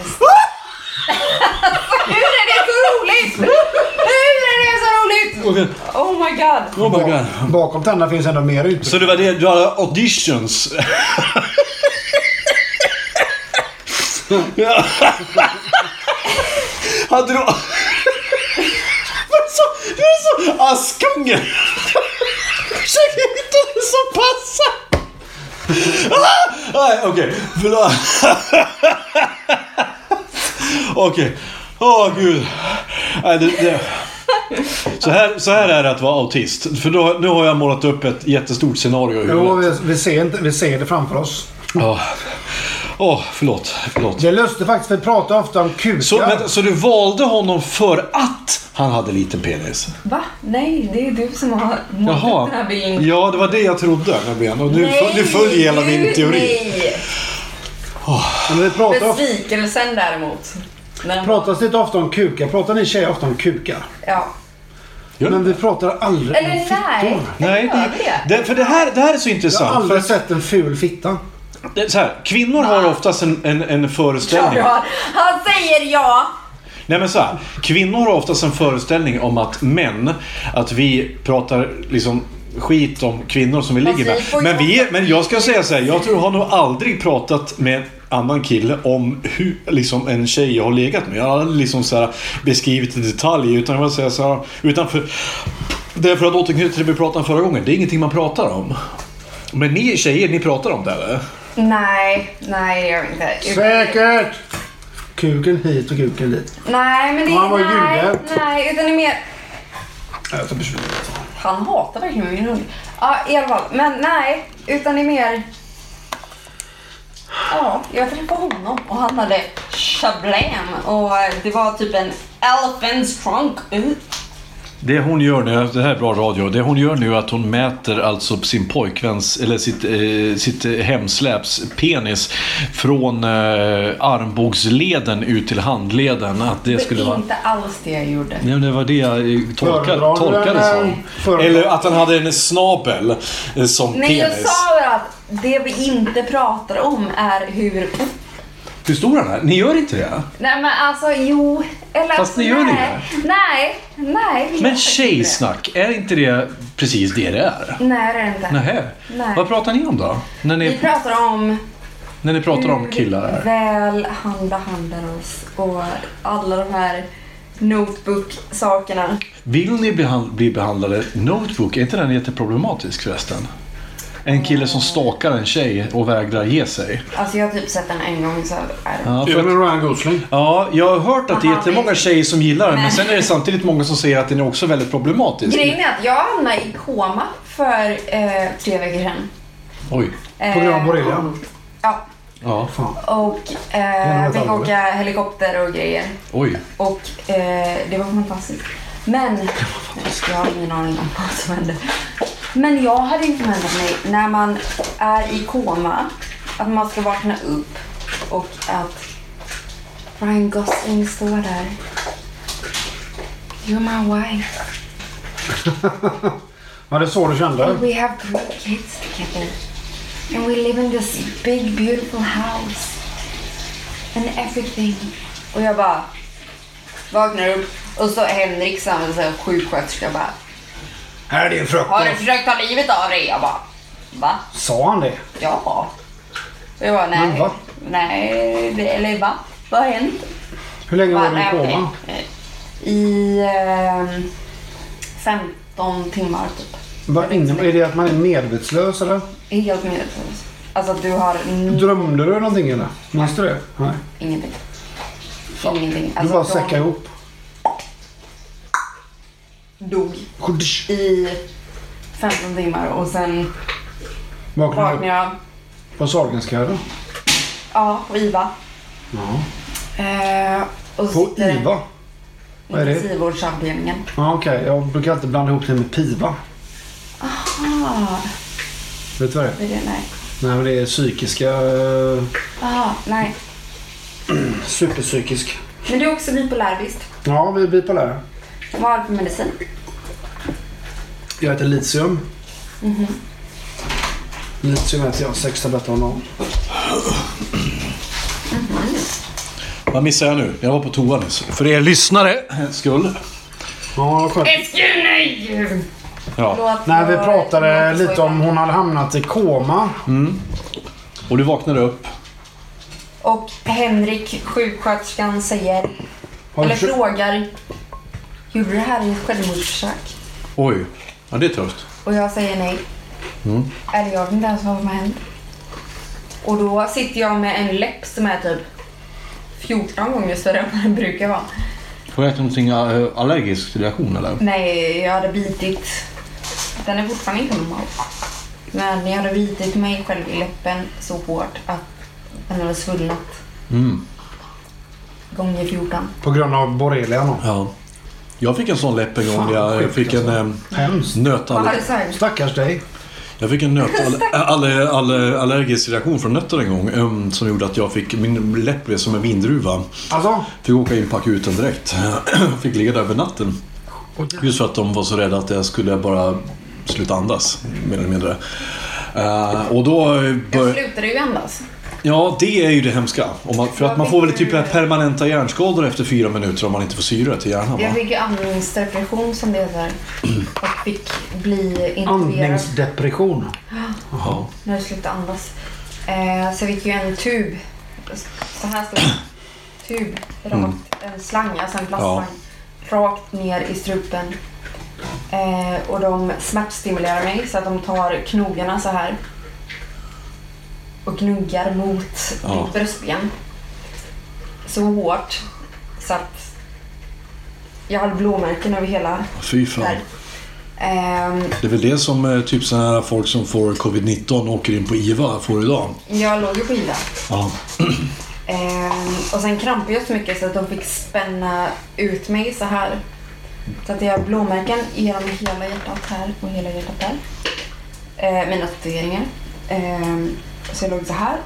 Speaker 2: Alltså, Hur är det så roligt? Hur är det så roligt?
Speaker 3: Okej.
Speaker 2: Oh my god.
Speaker 3: Oh my god.
Speaker 1: Bakom tänderna finns ändå mer utrymme.
Speaker 3: Så det var det, du hade auditions? Ja. hade du... (laughs) Det är så, det är så Askungen! Försök hitta det som passar! Ah, Nej, okej. Förlåt. Okej. Åh, gud. Nej, det, det. Så, här, så här är det att vara autist. För då, nu har jag målat upp ett jättestort scenario i
Speaker 1: Jo,
Speaker 3: huvudet.
Speaker 1: vi, vi, ser inte, vi ser det framför oss.
Speaker 3: Ja. Åh, förlåt. Förlåt.
Speaker 1: Det är lustigt faktiskt, vi pratar ofta om kukar.
Speaker 3: Så, vänta, så du valde honom för att han hade liten penis?
Speaker 2: Va? Nej, det är du som har målat upp den här bilden.
Speaker 3: Ja, det var det jag trodde. nämligen. Och nu,
Speaker 2: Nej,
Speaker 3: nu följer hela min
Speaker 2: gud,
Speaker 3: teori.
Speaker 2: Nej.
Speaker 1: Men vi pratar, ofta,
Speaker 2: Besvikelsen däremot. Men,
Speaker 1: pratas det inte ofta om kukar? Pratar ni tjejer ofta om kukar?
Speaker 2: ja.
Speaker 3: Gör
Speaker 1: Men vi pratar aldrig
Speaker 2: Eller
Speaker 1: om
Speaker 2: nej.
Speaker 1: fittor.
Speaker 3: Nej,
Speaker 2: Gör
Speaker 3: det, det, för det här, det här är så
Speaker 1: Jag har
Speaker 3: intressant. För
Speaker 1: aldrig sett en ful fitta.
Speaker 3: att, det, så här, kvinnor har oftast en, en, en föreställning.
Speaker 2: Ja, Han säger ja.
Speaker 3: Nej men så här, kvinnor har oftast en föreställning om att män, att vi pratar liksom skit om kvinnor som vi
Speaker 2: Fast
Speaker 3: ligger
Speaker 2: vi får
Speaker 3: med.
Speaker 2: ju
Speaker 3: Men, vi,
Speaker 2: ofta-
Speaker 3: men jag ska säga så här, jag tror jag har nog aldrig pratat med en annan kille om hur liksom, en tjej jag har legat med. Jag har aldrig liksom så här, beskrivit i detalj. Utan jag vill säga så här, utanför, därför att återknyta till det vi pratade om förra gången. Det är ingenting man pratar om. Men ni tjejer, ni pratar om det eller?
Speaker 2: Nej, nej det gör vi inte.
Speaker 1: Säkert! Kuken hit och kuken dit.
Speaker 2: Nej, men det
Speaker 1: Och han var
Speaker 2: är... Nej,
Speaker 1: jude.
Speaker 2: nej, utan det är mer...
Speaker 1: Jag tar beslut.
Speaker 2: Han hatar verkligen min hund. Ja, i alla fall. Men nej, utan det är mer... Ja, jag träffade honom och han hade chablam och det var typ en elephant's trunk. Uh.
Speaker 3: Det hon gör nu, det här är bra radio, det hon gör nu är att hon mäter alltså sin pojkväns, eller sitt, eh, sitt eh, hemsläps penis från eh, armbågsleden ut till handleden. Att det skulle
Speaker 2: det är
Speaker 3: vara...
Speaker 2: inte alls det jag gjorde.
Speaker 3: Nej, men det var det jag eh, tolkade,
Speaker 1: Föredrar du
Speaker 3: tolkade
Speaker 1: den,
Speaker 3: som.
Speaker 1: eh, föredrar-
Speaker 3: Eller att han hade en snabel eh, som
Speaker 2: Nej, jag
Speaker 3: penis.
Speaker 2: sa ju att det vi inte pratar om är hur...
Speaker 3: Hur stor han är? Ni gör inte det?
Speaker 2: Nej men alltså jo. Eller
Speaker 3: Fast
Speaker 2: alltså,
Speaker 3: ni gör
Speaker 2: nej.
Speaker 3: det.
Speaker 2: Nej, nej. vi gör
Speaker 3: Men
Speaker 2: inte
Speaker 3: tjejsnack, är inte det precis det det är?
Speaker 2: det. Nej det är det inte.
Speaker 3: Nähä.
Speaker 2: Nej.
Speaker 3: Vad pratar ni om då? När
Speaker 2: Vi Mm.
Speaker 3: ni,
Speaker 2: pratar om
Speaker 3: när ni pratar om killar
Speaker 2: hur
Speaker 3: här?
Speaker 2: väl han behandlar oss och alla de här notebook-sakerna.
Speaker 3: Vill ni behand- bli behandlade Notebook, är inte den jätteproblematisk förresten? En kille som stalkar en tjej och vägrar ge sig.
Speaker 2: Alltså jag har typ sett den en gång så är det.
Speaker 3: Ja,
Speaker 1: Är det
Speaker 3: för,
Speaker 1: med Ryan Gosling?
Speaker 3: ja, jag har hört att det är
Speaker 2: Aha,
Speaker 3: jättemånga
Speaker 2: men-
Speaker 3: tjejer som gillar den, men
Speaker 2: Nej.
Speaker 3: sen är det samtidigt många som säger att den är också väldigt problematisk.
Speaker 2: Grejen är att jag hamnade i koma för eh, tre veckor sedan.
Speaker 3: Oj.
Speaker 1: På grund av
Speaker 2: Eh,
Speaker 1: borrelia?
Speaker 2: Ja,
Speaker 3: Ja,
Speaker 2: och
Speaker 1: har
Speaker 2: eh,
Speaker 1: ett
Speaker 2: fick
Speaker 1: allvar.
Speaker 2: åka helikopter och grejer.
Speaker 3: oj.
Speaker 2: Och eh, det var fantastiskt. Men jag har ingen aning om vad som hände. Men jag hade inte förväntat mig när man är i koma att man ska vakna upp och att Ryan Gosling står där. You're my wife.
Speaker 1: Ja, det är så du kände.
Speaker 6: We have great kids together. And we live in this big beautiful house. And everything.
Speaker 2: Och jag bara vaknar upp och så Henrik som är så här sjuksköterska bara
Speaker 1: Här är din
Speaker 2: Har du
Speaker 1: frukost.
Speaker 2: försökt ta livet av dig? Jag bara Va?
Speaker 1: Sa han det?
Speaker 2: Ja. Och jag bara
Speaker 1: Men
Speaker 2: nej.
Speaker 1: va?
Speaker 2: Nej, det, eller va? Vad har hänt?
Speaker 1: Hur länge var
Speaker 2: Bara,
Speaker 1: du i
Speaker 2: nej, okej. Eh,
Speaker 1: koma?
Speaker 2: I ehm, 15 timmar typ.
Speaker 1: Vad innebär- Är det att man är medvetslös eller?
Speaker 2: Helt medvetslös. Alltså du har n-
Speaker 1: Drömde du någonting eller? Minns du det? Nej.
Speaker 2: ingenting. Ingenting.
Speaker 1: Du
Speaker 2: Alltså,
Speaker 1: bara
Speaker 2: de
Speaker 1: säckade ihop.
Speaker 2: dog
Speaker 1: Kudish.
Speaker 2: i 15 timmar och sen
Speaker 1: Vaknade
Speaker 2: vaknade
Speaker 1: upp
Speaker 2: jag
Speaker 1: på Sahlgrenska
Speaker 2: ja, på IVA.
Speaker 1: Ja.
Speaker 2: Eh, och
Speaker 1: På IVA? Vad är det?
Speaker 2: Intensivvårdsavdelningen.
Speaker 1: Ja, okej. Jag brukar alltid blanda ihop det med PIVA.
Speaker 2: Ah,
Speaker 1: Vet du vad det är?
Speaker 2: vad är det? Nej.
Speaker 1: Nej, men det är psykiska... eh,
Speaker 2: Ah, nej.
Speaker 1: Superpsykisk.
Speaker 2: Men du är också bipolär visst?
Speaker 1: Ja, vi är bipolära.
Speaker 2: Vad har du för medicin?
Speaker 1: Jag äter litium. Mhm. Litium äter jag sex tabletter om dagen.
Speaker 3: Vad missar jag nu? Jag var på toa nyss. För er lyssnare skull.
Speaker 1: Ja, skönt.
Speaker 3: Ja.
Speaker 2: Förlåt,
Speaker 1: Nej, vi
Speaker 2: jag-
Speaker 1: pratade
Speaker 2: jag-
Speaker 1: lite om hon hade hamnat i koma.
Speaker 3: Och du vaknade upp.
Speaker 2: Och Henrik, sjuksköterskan, säger...
Speaker 1: Har du
Speaker 2: eller
Speaker 1: försökt-
Speaker 2: frågar... Gjorde du det här i ett självmordsförsök?
Speaker 3: Oj. Ja, det är tufft.
Speaker 2: Och jag säger nej. Eller jag vet inte ens vad som har hänt. Och då sitter jag med en läpp som är typ 14 gånger större än vad den brukar vara.
Speaker 3: Har du ätit någonting eh, allergisk reaktion eller?
Speaker 2: Nej, jag hade bitit... Den är fortfarande inte normal. Men jag hade bitit mig själv i läppen så hårt att den hade svullnat. Gånger 14.
Speaker 1: På grund av borrelian. då.
Speaker 3: Ja. Jag fick en sån läpp en gång.
Speaker 1: Fan,
Speaker 3: när Jag
Speaker 1: sjukt alltså.
Speaker 3: fick en eh,
Speaker 1: Hemskt.
Speaker 2: Vad har
Speaker 3: nötaller...
Speaker 2: du sagt?
Speaker 1: Stackars dig.
Speaker 3: Jag fick en nötallergisk reaktion från nötter en gång. em, Som gjorde att jag fick... Min läpp blev som en vindruva.
Speaker 1: Alltså,
Speaker 3: Fick åka in på akuten direkt. (clears throat) Fick ligga där över natten. Just för att de var så rädda att jag skulle bara sluta andas. Mer eller mindre. Eh, och då
Speaker 2: Jag
Speaker 3: började...
Speaker 2: slutade ju andas.
Speaker 3: Ja, det är ju det hemska. Om man, för att man får väl typ permanenta hjärnskador efter fyra minuter om man inte får syre till hjärnan.
Speaker 2: Jag
Speaker 3: Va?
Speaker 2: fick ju andningsdepression som det heter. Och fick bli intuberad
Speaker 1: andningsdepression.
Speaker 3: Ja.
Speaker 2: när jag slutade andas. Eh, så jag fick ju en tub. Så här stor. Tub. Rakt. En slang, alltså en plastslang. Rakt ner i strupen. Eh, och de smärtstimulerar mig så att de tar knogarna så här. Och gnuggar mot
Speaker 3: Ja.
Speaker 2: mitt bröstben. Så hårt. Så att jag hade blåmärken över hela
Speaker 3: Fy fan.
Speaker 2: där. Ehm,
Speaker 3: Det är väl det som eh, typ sådana här folk som får covid-19 åker in på IVA får idag.
Speaker 2: jag låg ju på illa.
Speaker 3: Ja.
Speaker 2: Ehm, och sen krampade jag så mycket så att de fick spänna ut mig så här. Så att jag har blåmärken genom hela hjärtat här och hela hjärtat där. Eh, mina tatueringar. Ehm, så jag låg så här.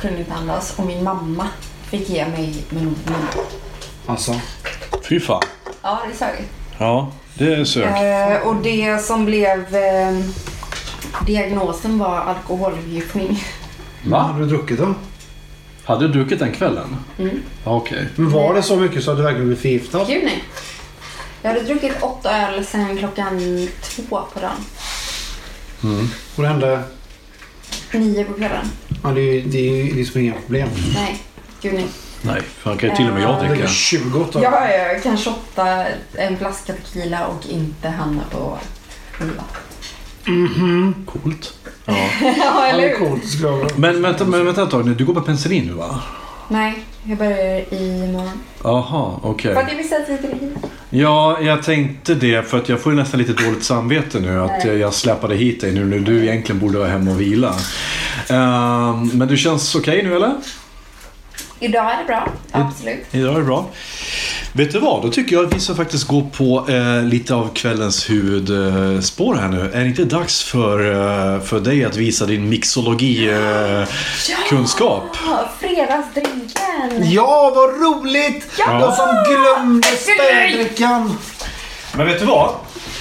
Speaker 2: Kunde inte andas och min mamma fick ge mig min mun.
Speaker 1: Alltså.
Speaker 3: Fy fan.
Speaker 2: Ja, det sög.
Speaker 3: Ja, det är sök.
Speaker 2: Eh, och det som blev ehm, diagnosen var alkoholförgiftning.
Speaker 1: Vad hade du druckit då?
Speaker 3: Hade du druckit den kvällen? Ja, Okej.
Speaker 1: Men var det så mycket så att du verkligen blev förgiftad?
Speaker 2: Gud nej. Jag hade druckit åtta öl sen klockan två på dagen.
Speaker 1: Och det hände...
Speaker 2: Nio på kvällen.
Speaker 1: Ja, det är ju det är ju liksom inga problem.
Speaker 2: Nej, gud nej.
Speaker 3: Nej, fan kan ju till och med jag
Speaker 1: Jag dricker
Speaker 3: dricka.
Speaker 1: 20 åtta.
Speaker 2: Jag, jag kan shotta en flaska tequila och inte hamna på sjua.
Speaker 3: Coolt.
Speaker 2: (laughs) Ja,
Speaker 1: Ja,
Speaker 2: eller
Speaker 1: det är
Speaker 2: hur?
Speaker 1: coolt. skulle jag vilja-
Speaker 3: Men vänta, men vänta ett tag nu. Du går på penicillin nu va?
Speaker 2: Nej, jag börjar imorgon.
Speaker 3: Eh. Jaha, okej.
Speaker 2: För att jag visste att vi skulle hit.
Speaker 3: Ja, jag tänkte det för att jag får ju nästan lite dåligt samvete nu att jag- jag släpade hit dig nu när du egentligen borde vara hemma och vila. Ehm, men du känns okej nu eller?
Speaker 2: Idag är det bra, absolut.
Speaker 3: Idag är det bra. Vet du vad? Då tycker jag att vi ska faktiskt gå på eh, lite av kvällens huvudspår eh, spår här nu. Är det inte dags för, eh, för dig att visa din mixologikunskap? Eh, kunskap?
Speaker 2: Ja, Ah, Fredagsdrinken!
Speaker 1: Ja, vad roligt! Jag som glömde spädrickan.
Speaker 7: Men vet du vad?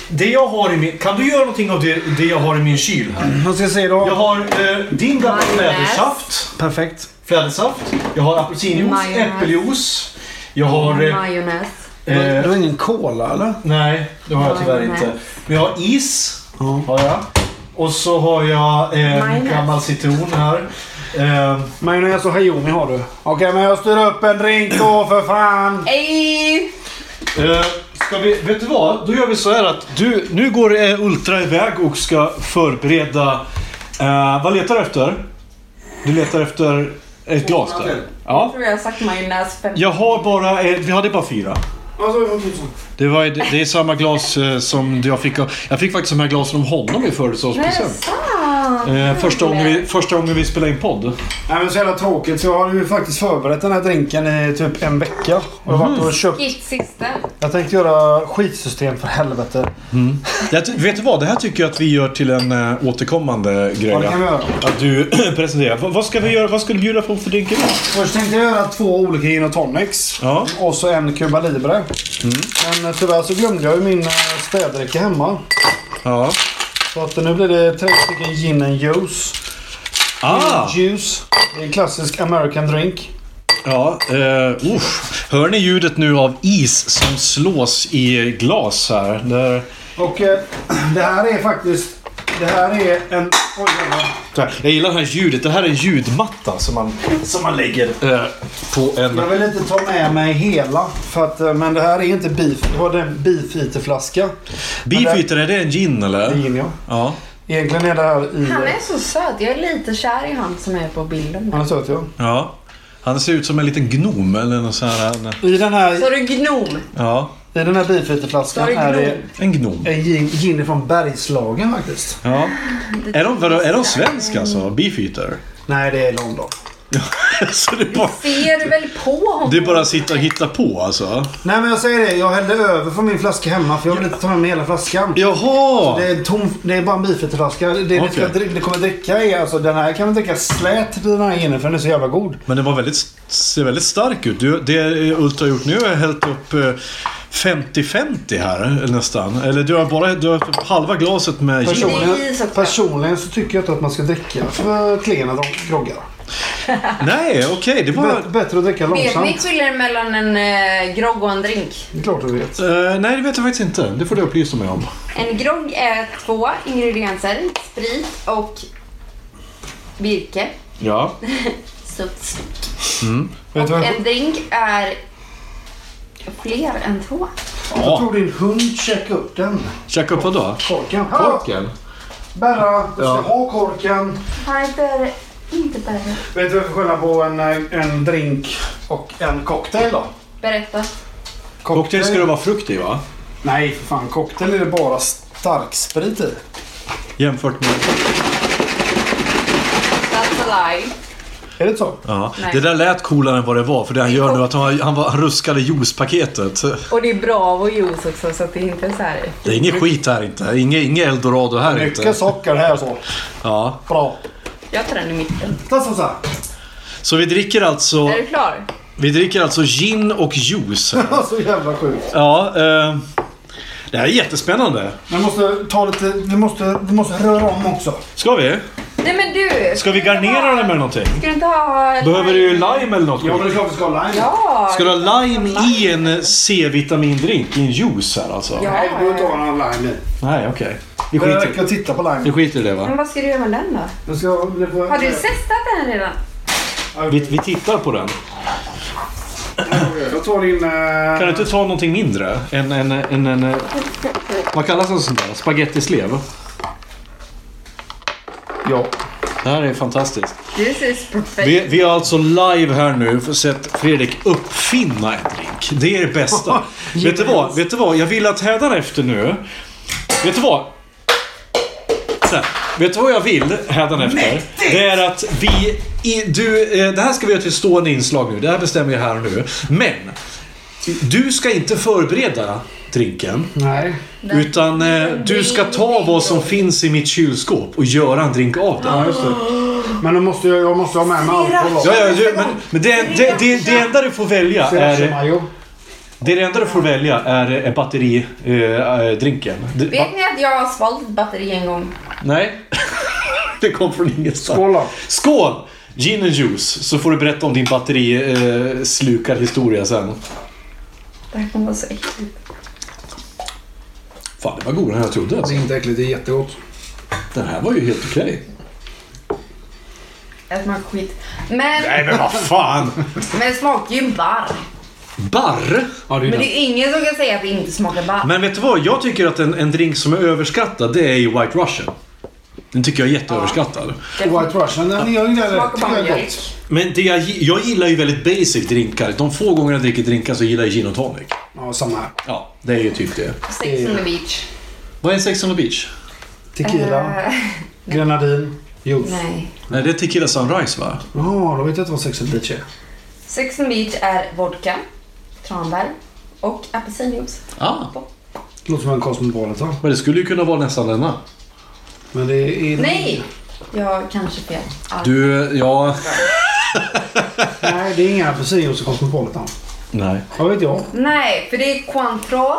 Speaker 7: Det jag har i min... Kan du göra någonting av det, det jag har i min kyl här?
Speaker 1: Vad ska jag säga
Speaker 7: Jag
Speaker 1: då?
Speaker 7: har eh, din gamla
Speaker 2: Majonnäs.
Speaker 7: flädersaft.
Speaker 1: Perfekt.
Speaker 7: Flädersaft. Jag har apelsinjuice,
Speaker 2: Majonnäs.
Speaker 7: äppeljuice. Jag har... Eh,
Speaker 2: Majonnäs.
Speaker 1: Det
Speaker 7: eh,
Speaker 1: var ingen cola eller?
Speaker 7: nej, det har jag tyvärr
Speaker 2: Majonnäs.
Speaker 7: inte. Men jag har is. Har jag. Och så har jag eh, en
Speaker 2: Majonnäs.
Speaker 7: gammal citron här. Eh,
Speaker 1: Majonnäs och hayomi alltså, har du. Okej, men jag styr upp en drink då för fan.
Speaker 2: Ey!
Speaker 7: Eh, Ska vi, vet du vad? Då gör vi så här att du, nu går eh, Ultra iväg och ska förbereda... Eh, vad letar du efter? Du letar efter ett glas där?
Speaker 2: Jag
Speaker 7: Ja.
Speaker 2: tror jag har sagt majonnäs fem
Speaker 7: Jag har bara... Eh, vi hade bara fyra.
Speaker 1: Alltså,
Speaker 7: Det, var, det, det är samma glas eh, som jag fick av... Jag fick faktiskt de här glasen av honom i födelsedagspresent.
Speaker 5: Ah.
Speaker 7: Eh, första, gången vi- första gången vi spelade in podd.
Speaker 1: Nej men så jävla tråkigt så jag har ju faktiskt förberett den här drinken i typ en vecka. Och jag har varit och köpt.
Speaker 2: Gitt sista.
Speaker 1: Jag tänkte göra skitsystem för helvete.
Speaker 3: Jag ty- vet du vad? Det här tycker jag att vi gör till en eh, återkommande grej.
Speaker 1: Ja, det kan vi göra.
Speaker 3: Att du (clears throat) presenterar. Va- vad ska vi göra? Vad ska du bjuda på för drinker?
Speaker 1: Först tänkte jag göra två olika gin tonics.
Speaker 3: Ja.
Speaker 1: Och så en Cuba Libre. Men eh, tyvärr så glömde jag ju min eh, städräcka hemma.
Speaker 3: Ja.
Speaker 1: Så att nu blir det tre stycken gin and juice.
Speaker 3: Ah!
Speaker 1: Juice. Det är klassisk American drink.
Speaker 3: Ja, uh, usch. Hör ni ljudet nu av is som slås i glas här? Där,
Speaker 1: Och eh, det här är faktiskt... Det här är en... Oj, jävlar.
Speaker 3: så här. Jag gillar det här ljudet. Det här är en ljudmatta som man, som man lägger eh, på en...
Speaker 1: Jag vill inte ta med mig hela. För att, eh, men det här är inte beef. Det var den beefeaterflaska.
Speaker 3: Beefeater, är det en gin
Speaker 1: Det är
Speaker 3: eller?
Speaker 1: gin ja.
Speaker 3: Ja.
Speaker 1: Egentligen är det här i... eh,
Speaker 2: Han är så söt. Jag är lite kär i han som är på bilden. där.
Speaker 1: Han är söt ja.
Speaker 3: ja. Han ser ut som en liten gnom eller något sånt här. en-
Speaker 1: I den här,
Speaker 2: Så du gnom?
Speaker 3: Ja,
Speaker 1: i den här beefeaterflaskan
Speaker 2: Sorry,
Speaker 1: är det
Speaker 2: gnom.
Speaker 3: en gnom.
Speaker 1: en gin, gin från Bergslagen faktiskt.
Speaker 3: Ja. Är de, vadå, är de svenska alltså? Beefeater?
Speaker 1: Nej, det är London.
Speaker 3: (laughs) Så det är bara,
Speaker 2: Ser du väl på honom?
Speaker 3: det är bara att sitta och hitta på alltså?
Speaker 1: Nej, men jag säger det. Jag hällde över från min flaska hemma för jag vill inte ta med mig hela flaskan.
Speaker 3: Jaha!
Speaker 1: Det är, tom, det är bara en beefeaterflaska. Det, det,
Speaker 3: Okej.
Speaker 1: ska, dri- det kommer dricka är alltså den här kan man dricka slät den här ginen för den är så jävla god.
Speaker 3: Men den var väldigt, ser väldigt stark ut. Du, det Ultra har gjort nu är hällt upp eh, 50-50 här eller nästan. Eller du har bara du har hällt upp halva glaset med gin.
Speaker 2: Det är
Speaker 1: Personligen,
Speaker 2: is också.
Speaker 1: personligen så tycker jag inte att man ska dricka för klena dro- groggar.
Speaker 3: Nej, okej. det var...
Speaker 2: Mm.
Speaker 1: Bättre, bättre att dricka
Speaker 2: Vet ni
Speaker 1: långsamt.
Speaker 2: skillnaden mellan en eh, grogg och en drink?
Speaker 1: Det är klart du vet.
Speaker 3: Eh, nej, det vet jag faktiskt inte. Det får du upplysa mig om.
Speaker 2: En grogg är två ingredienser. Sprit och virke.
Speaker 3: Ja.
Speaker 2: Sups.
Speaker 1: Vet du vad?
Speaker 2: Och en drink är fler än två.
Speaker 1: Jag tog din hund käka upp den.
Speaker 3: Käka upp vadå?
Speaker 1: Korken. Korken. Berra, du ska ha korken.
Speaker 2: Nej, det är det inte bättre.
Speaker 1: Vet du vad för skillnad på en, eh, en drink och en cocktail då?
Speaker 2: Berätta.
Speaker 3: Cocktail ska det vara frukt i va?
Speaker 1: Nej för fan, cocktail är det bara starksprit i.
Speaker 3: Jämfört med...
Speaker 2: That's a lie.
Speaker 1: Är det så?
Speaker 3: Ja.
Speaker 2: Nej.
Speaker 3: Det där lät coolare än vad det var. För det han gör nu är att han, han, var, han ruskade juicepaketet.
Speaker 2: Och det är bra och juice också så att det inte är så här.
Speaker 3: Det är inget skit här inte. Inget, inget eldorado här inte.
Speaker 1: Mycket socker här så.
Speaker 3: Ja.
Speaker 1: Bra.
Speaker 2: Jag tar den i mitten.
Speaker 1: Ta så här.
Speaker 3: Så vi dricker alltså...
Speaker 2: Är du klar?
Speaker 3: Vi dricker alltså gin
Speaker 2: (laughs)
Speaker 3: och juice. här.
Speaker 1: Så jävla sjukt.
Speaker 3: Ja, eh, det här är jättespännande.
Speaker 1: Vi måste ta lite, vi måste, vi måste röra om också.
Speaker 3: Ska vi?
Speaker 2: Nej men du!
Speaker 3: Ska vi garnera det med någonting?
Speaker 2: Ska du inte ha...
Speaker 3: Behöver du lime eller något? skit?
Speaker 1: är klart vi ska ha lime.
Speaker 2: Ja!
Speaker 3: Ska du ha lime i en C-vitamindrink? I en juice här alltså?
Speaker 1: Nej, vi
Speaker 2: Ja.
Speaker 1: behöver inte ha någon lime i.
Speaker 3: Nej, okej. Vi
Speaker 1: Det
Speaker 3: skiter,
Speaker 1: räcker att titta på
Speaker 3: vi
Speaker 1: lime.
Speaker 3: skiter i det va?
Speaker 2: Men vad ska du göra med den då?
Speaker 1: Jag ska,
Speaker 2: Har du testat den redan?
Speaker 3: Vi, vi tittar på den.
Speaker 1: Jag tar din... eh,
Speaker 3: Kan du inte ta någonting mindre? En, en, en, en, eh, vad kallas en sån där? Spagettislev?
Speaker 1: Ja.
Speaker 3: Det här är fantastiskt.
Speaker 2: This is perfect.
Speaker 3: Vi, vi har alltså live här nu för sett Fredrik uppfinna en drink. Det är det bästa. vet, du vad, vet du vad? Jag vill att hädanefter nu... Vet du vad? Så här, vet du vad jag vill hädanefter? Det är att vi... I, du, eh, det här ska vi göra till stående inslag nu. Det här bestämmer jag här och nu. Men! Du ska inte förbereda drinken.
Speaker 1: Nej.
Speaker 3: Utan eh, du ska ta vad som finns i mitt kylskåp och göra en drink av det.
Speaker 1: Ja, just det. Men då måste jag, jag måste ha med mig alkohol
Speaker 3: Ja,
Speaker 1: också.
Speaker 3: ja, du, men, men det, det, det, det enda du får välja är...
Speaker 1: Sriracha-majo.
Speaker 3: Det enda du får välja är eh, batteridrinken. Det- ba-
Speaker 2: Vet ni att jag har svalt ett batteri en gång?
Speaker 3: Nej. det kom från ingenstans.
Speaker 1: Skål då.
Speaker 3: Skål! Gin and juice, så får du berätta om din batterislukar-historia sen.
Speaker 2: Det här kommer vara så äckligt.
Speaker 3: Fan, det var godare än jag trodde.
Speaker 1: Det
Speaker 3: Alltså.
Speaker 1: är inte äckligt, det är jättegott.
Speaker 3: Den här var ju helt okej.
Speaker 2: Jag smakar skit. Men,
Speaker 3: men vad fan!
Speaker 2: men det smakar ju barr.
Speaker 3: Barr! Ja,
Speaker 2: Men det är ingen som kan säga att det inte smakar barr.
Speaker 3: Men vet du vad? Jag tycker att en, en drink som är överskattad, det är ju White Russian. Den tycker jag är jätteöverskattad.
Speaker 1: White Russian, den jag gillar det.
Speaker 2: smakar
Speaker 1: Tycker jag är
Speaker 2: bara
Speaker 1: gott.
Speaker 3: Men det jag, gi- jag gillar ju väldigt basic drinkar. De få gånger jag dricker drinkar så gillar jag gin och tonic.
Speaker 1: Ja, samma här.
Speaker 3: Ja, det är ju typ det.
Speaker 2: Sex on the beach.
Speaker 3: Vad är Sex on the beach?
Speaker 1: Tequila,
Speaker 2: Eh,
Speaker 1: grenadin, juice.
Speaker 2: nej.
Speaker 3: Nej, det är Tequila Sunrise va?
Speaker 1: Ja, då vet jag inte vad sex and the beach är.
Speaker 2: Sex on the beach är vodka, tranbär och apelsinjuice.
Speaker 3: Ah.
Speaker 1: Låter som en Cosmopolitan.
Speaker 3: Men det skulle ju kunna vara nästan denna.
Speaker 1: Men det är...
Speaker 2: Nej! Jag kanske fel. Allt.
Speaker 3: Du, ja...
Speaker 1: Nej, det är inga apelsinjuice och Cosmopolitan.
Speaker 3: Nej.
Speaker 1: Vad vet jag?
Speaker 2: Nej, för det är Cointreau,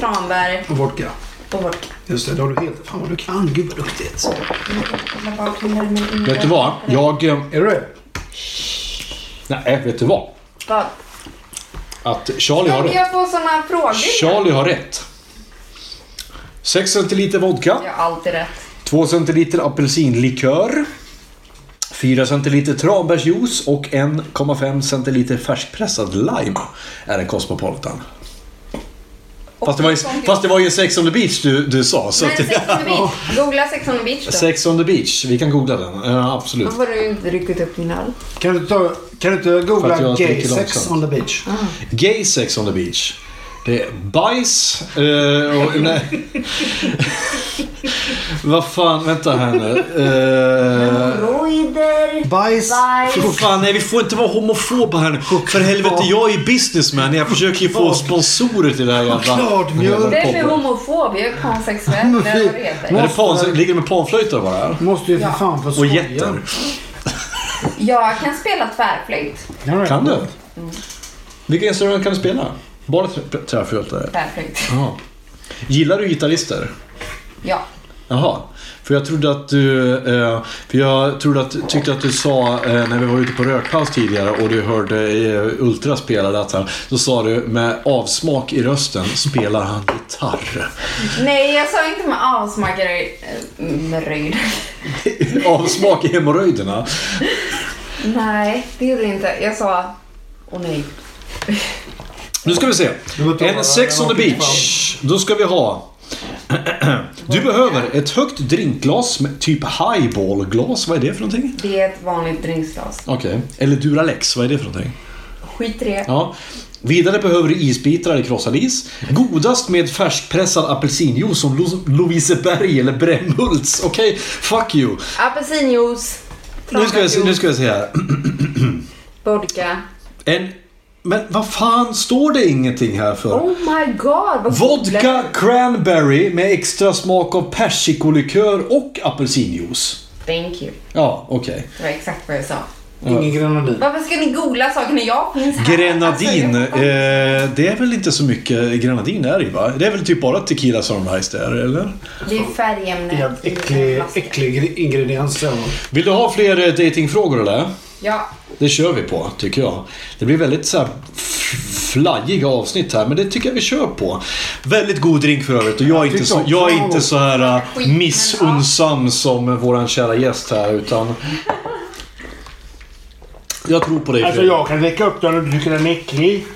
Speaker 2: tranbär
Speaker 1: Och vodka.
Speaker 2: och vodka.
Speaker 1: Just det, då har du helt... Fan vad du kan. Gud vad duktigt.
Speaker 2: Jag bara klämmer mig in i
Speaker 3: Vet du
Speaker 2: det.
Speaker 3: vad? Jag... eh,
Speaker 1: Är du det?
Speaker 3: Nej, vet du vad?
Speaker 2: Vad?
Speaker 3: Att Charlie har
Speaker 2: Tänker
Speaker 3: rätt.
Speaker 2: jag få såna frågor?
Speaker 3: Charlie har rätt. 6 centiliter vodka.
Speaker 2: Jag har alltid rätt.
Speaker 3: 2 centiliter apelsinlikör. 4 centiliter tranbärsjuice och 1,5 centiliter färskpressad lime är en Cosmopolitan. Fast det var ju, fast det var ju Sex on the beach du, du sa. Så
Speaker 2: Men
Speaker 3: att,
Speaker 2: Sex on the beach. Googla Sex on the beach då.
Speaker 3: sex on the beach, vi kan googla den. Ja, absolut.
Speaker 2: Varför har du inte ryckt upp din öl?
Speaker 1: Kan du, ta, kan du inte
Speaker 3: För att
Speaker 1: googla
Speaker 3: jag
Speaker 1: gay
Speaker 3: dricker
Speaker 1: sex
Speaker 3: långsamt.
Speaker 1: on the beach?
Speaker 3: Gay sex on the beach. Det är bajs eh,
Speaker 2: (laughs)
Speaker 3: och, nej. Vad fan, vänta här nu. Eh,
Speaker 6: Roider.
Speaker 1: Bajs.
Speaker 3: Vad fan, nej vi får inte vara homofoba här nu. För helvete, jag är businessman. Jag försöker ju få sponsorer till det här jävla...
Speaker 1: Chokladmjölk.
Speaker 3: den här
Speaker 2: Det är för
Speaker 3: podden.
Speaker 2: homofob. Jag är pansexuell. Det är vad det heter.
Speaker 3: Är det pan, ligger det med panflöjter bara här?
Speaker 1: Måste ju för fan få
Speaker 3: Och
Speaker 1: skoja.
Speaker 3: getter?
Speaker 2: Jag kan spela tvärflöjt.
Speaker 1: Kan du?
Speaker 3: Kan du? Vilka instrument kan du spela? Bara trä- träflöjtare?
Speaker 2: Tvärflöjt.
Speaker 3: Jaha. Gillar du gitarrister?
Speaker 2: Ja.
Speaker 3: Jaha. För jag trodde att du... eh, För jag trodde att, tyckte att du sa eh, när vi var ute på rökpaus tidigare och du hörde eh, Ultra spela det här. Då sa du med avsmak i rösten spelar han gitarr. (laughs)
Speaker 2: Nej, jag sa inte med avsmak. jag är, eh, Med röjd.
Speaker 3: avsmak i hemorrojderna.
Speaker 2: Nej, det gjorde jag inte. Jag sa... Åh nej.
Speaker 3: Nu ska vi se.
Speaker 1: var
Speaker 3: En sex on the beach. Då ska vi ha... (clears throat) Du behöver ett högt drinkglas, med typ highballglas. Vad är det för någonting?
Speaker 2: Det är ett vanligt drinksglas.
Speaker 3: Okej. Eller Duralex, vad är det för någonting?
Speaker 2: Skit i det.
Speaker 3: Ja. Vidare behöver du isbitar eller krossad is. Godast med färskpressad apelsinjuice som Lo- Loviseberg eller Brännhults. Okej, fuck you.
Speaker 2: Apelsinjuice.
Speaker 3: Nu ska, jag, se- nu ska jag se här.
Speaker 2: Vodka.
Speaker 3: En, men vad fan står det ingenting här för?
Speaker 2: Oh my god. Vad
Speaker 3: Vodka cranberry med extra smak av persikolikör och apelsinjuice.
Speaker 2: Thank you.
Speaker 3: Ja, okej.
Speaker 2: Det var exakt vad jag sa.
Speaker 1: Ingen grenadin.
Speaker 2: Varför ska ni googla saker när jag finns här?
Speaker 3: Grenadin,
Speaker 2: Alltså, jag-
Speaker 3: eh, det är väl inte så mycket grenadin är i va? Det är väl typ bara tequila sunrise där, eller?
Speaker 2: Det är färgämne. i
Speaker 1: Jävligt
Speaker 2: en
Speaker 1: äcklig,
Speaker 2: flaska.
Speaker 1: äcklig gre- ingrediens. ja.
Speaker 3: Vill du ha fler eh, datingfrågor eller?
Speaker 2: Ja.
Speaker 3: Det kör vi på, tycker jag. Det blir väldigt så här f- flajiga avsnitt här, men det tycker jag vi kör på. Väldigt god drink för övrigt och jag är inte så, jag är inte så här eh, missunnsam som eh, våran kära gäst här, utan... Jag tror på dig
Speaker 1: Alltså
Speaker 3: Fredrik.
Speaker 1: jag kan dricka upp den och du tycker den är äcklig.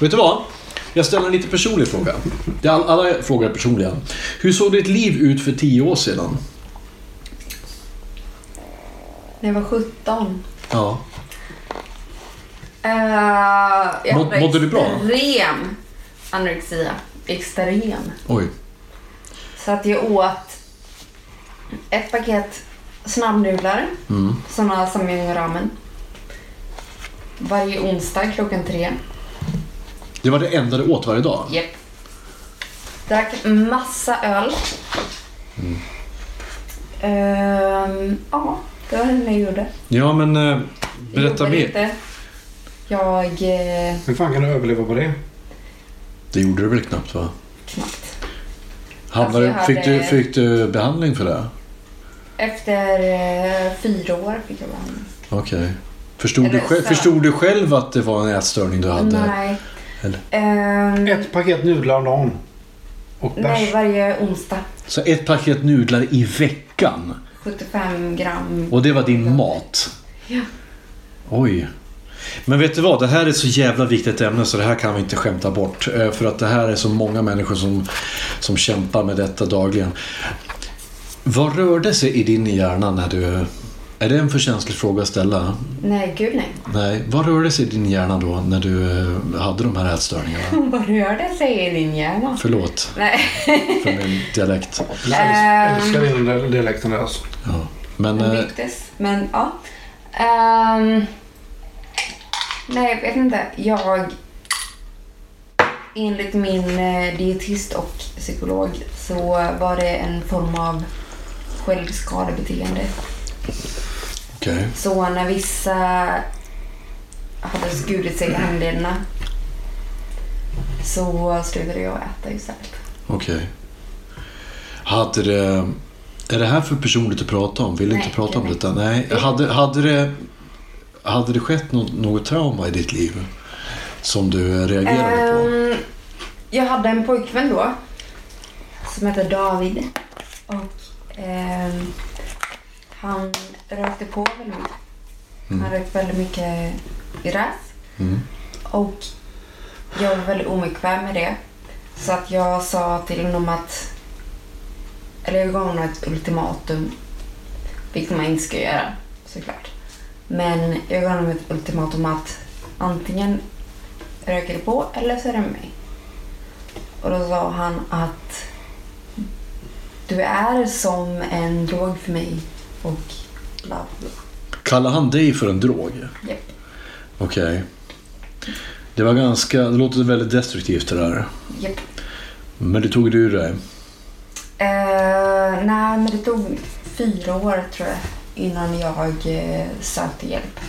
Speaker 3: Vet du vad? Jag ställer en lite personlig fråga. Det är all, alla frågor är personliga. Hur såg ditt liv ut för tio år sedan?
Speaker 2: När jag var 17.
Speaker 3: Ja.
Speaker 2: Uh, Eh, jag
Speaker 3: Må-
Speaker 2: hade
Speaker 3: mådde du bra?
Speaker 2: Extrem anorexia. Extrem.
Speaker 3: Oj.
Speaker 2: Så att jag åt ett paket snabbnudlar. Mm. Sådana som är ramen. Varje onsdag klockan tre.
Speaker 3: Det var det enda du åt varje dag?
Speaker 2: Japp. Drack massa öl.
Speaker 3: Mm.
Speaker 2: Ehm, ja, det var det jag gjorde.
Speaker 3: Ja, men eh,
Speaker 2: Jag
Speaker 3: berätta
Speaker 2: jobbade
Speaker 3: mer.
Speaker 2: inte. Jag... Eh,
Speaker 1: Hur fan kan du överleva på det?
Speaker 3: Det gjorde du väl knappt va?
Speaker 2: knappt.
Speaker 3: Hamnade,
Speaker 2: Alltså, jag
Speaker 3: fick, du,
Speaker 2: hade-
Speaker 3: fick du behandling för det?
Speaker 2: Efter eh, fyra år fick jag behandling.
Speaker 3: Okej. Förstod, du
Speaker 2: Eller
Speaker 3: själv,
Speaker 2: så-
Speaker 3: förstod du själv att det var en ätstörning du hade?
Speaker 2: Nej.
Speaker 3: Eller?
Speaker 2: Ehm,
Speaker 1: Ett paket nudlar om dagen. Och
Speaker 2: nej,
Speaker 1: bärs.
Speaker 2: varje onsdag.
Speaker 3: Så ett paket nudlar i veckan?
Speaker 2: 75 gram.
Speaker 3: Och det var din mat?
Speaker 2: Ja.
Speaker 3: Oj. Men vet du vad? Det här är ett så jävla viktigt ämne så det här kan vi inte skämta bort. Eh, För att det här är så många människor som, som kämpar med detta dagligen. Vad rörde sig i din hjärna när du... Är det en för känslig fråga att ställa?
Speaker 2: Nej, gud nej. (laughs)
Speaker 3: Nej. Vad rörde sig i din hjärna då när du eh, hade de här ätstörningarna?
Speaker 2: (laughs) Hon bara rörde sig i din hjärna.
Speaker 3: Förlåt
Speaker 2: Nej. (laughs)
Speaker 3: för min dialekt.
Speaker 1: Jag
Speaker 2: Ehm.
Speaker 1: älskar den där dialekten där alltså.
Speaker 3: Ja. Men
Speaker 2: Den
Speaker 3: eh,
Speaker 2: byggdes, men ja. Ehm, nej, jag vet inte. Jag... Enligt min eh, dietist och psykolog så var det en form av självskadebeteende.
Speaker 3: okej.
Speaker 2: Så när vissa hade skurit sig i handlederna så slutade jag äta istället.
Speaker 3: Okej. Hade det... Är det här för personligt att prata om? Vill inte
Speaker 2: Nej,
Speaker 3: prata om
Speaker 2: nej.
Speaker 3: detta? Nej. Hade, hade, det, hade det skett något, något trauma i ditt liv som du eh, reagerade på?
Speaker 2: Ehm, jag hade en pojkvän då som hette David. Och ehm, han rökte på väldigt mycket.
Speaker 3: Mm.
Speaker 2: Han rökte väldigt mycket gräs. Och jag var väldigt obekväm med det. Så att jag sa till honom att... Eller jag gav honom ett ultimatum. Vilket man inte ska göra såklart. Men jag gav honom ett ultimatum att antingen röker du på eller så är det mig. Och då sa han att du är som en drog för mig och bla bla
Speaker 3: Kallar han dig för en drog?
Speaker 2: bla. Japp.
Speaker 3: Okej. Det var ganska... Det låter väldigt destruktivt det där.
Speaker 2: Japp.
Speaker 3: Men det tog du ur dig.
Speaker 2: Eh, nej, men det tog fyra år tror jag innan jag eh, sökte hjälp.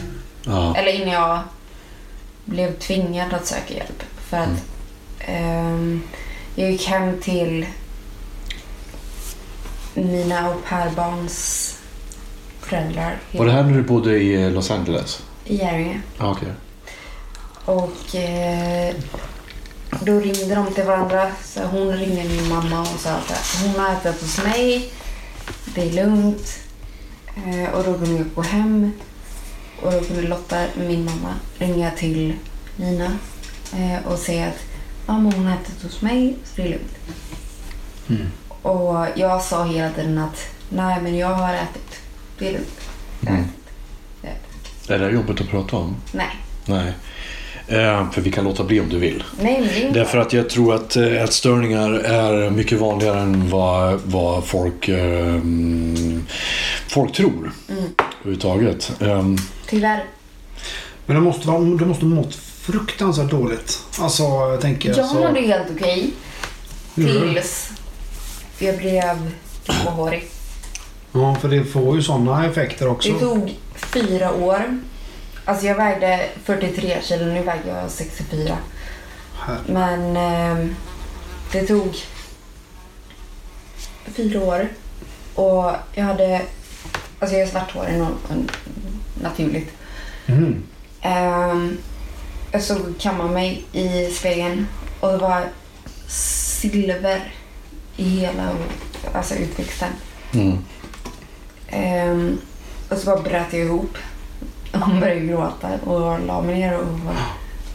Speaker 3: Ja.
Speaker 2: Eller innan jag blev tvingad att söka hjälp. För att ehm, jag gick hem till mina au pair-barns föräldrar
Speaker 3: Var det här när du bodde i eh, Los Angeles?
Speaker 2: i Järvingen.
Speaker 3: Ja, Okej.
Speaker 2: Och eh, då ringde de till varandra. Så hon ringde min mamma och sa att hon har ätit hos mig. Det är lugnt. Eh, och då kunde jag gå hem. Och då kunde Lotta, min mamma, ringa till Nina eh, och säga att mamma hon har ätit hos mig så det är lugnt. Och jag sa hela tiden att nej men jag har ätit. Det är lugnt. Jag har ätit. Jag har ätit.
Speaker 3: Är det här jobbigt att prata om?
Speaker 2: Nej.
Speaker 3: Nej. Eh, för vi kan låta bli om du vill.
Speaker 2: Nej, men det är inte-
Speaker 3: Därför att jag tror att eh, ätstörningar är mycket vanligare än vad, vad folk, eh, folk tror. Överhuvudtaget. Ehm,
Speaker 2: Tyvärr.
Speaker 1: Men du måste, vara- du måste mått fruktansvärt dåligt. Alltså jag tänker. alltså.
Speaker 2: Jag
Speaker 1: så- Mm.
Speaker 2: mådde helt okej.
Speaker 1: Gjorde du?
Speaker 2: Tills jag blev gråhårig.
Speaker 1: Ja, för det får ju sådana effekter också.
Speaker 2: Det tog fyra år. Alltså jag vägde 43 kilo, nu väger jag 64.
Speaker 1: Här.
Speaker 2: Men eh, det tog fyra år. Och jag hade... Alltså jag är svarthårig no- naturligt.
Speaker 1: Mm.
Speaker 2: Ehm, jag stod och kammade mig i spegeln och det var silver i hela alltså utväxten.
Speaker 3: Mm.
Speaker 2: Ehm, och så bara bröt jag ihop. Hon började gråta och la mig ner och bara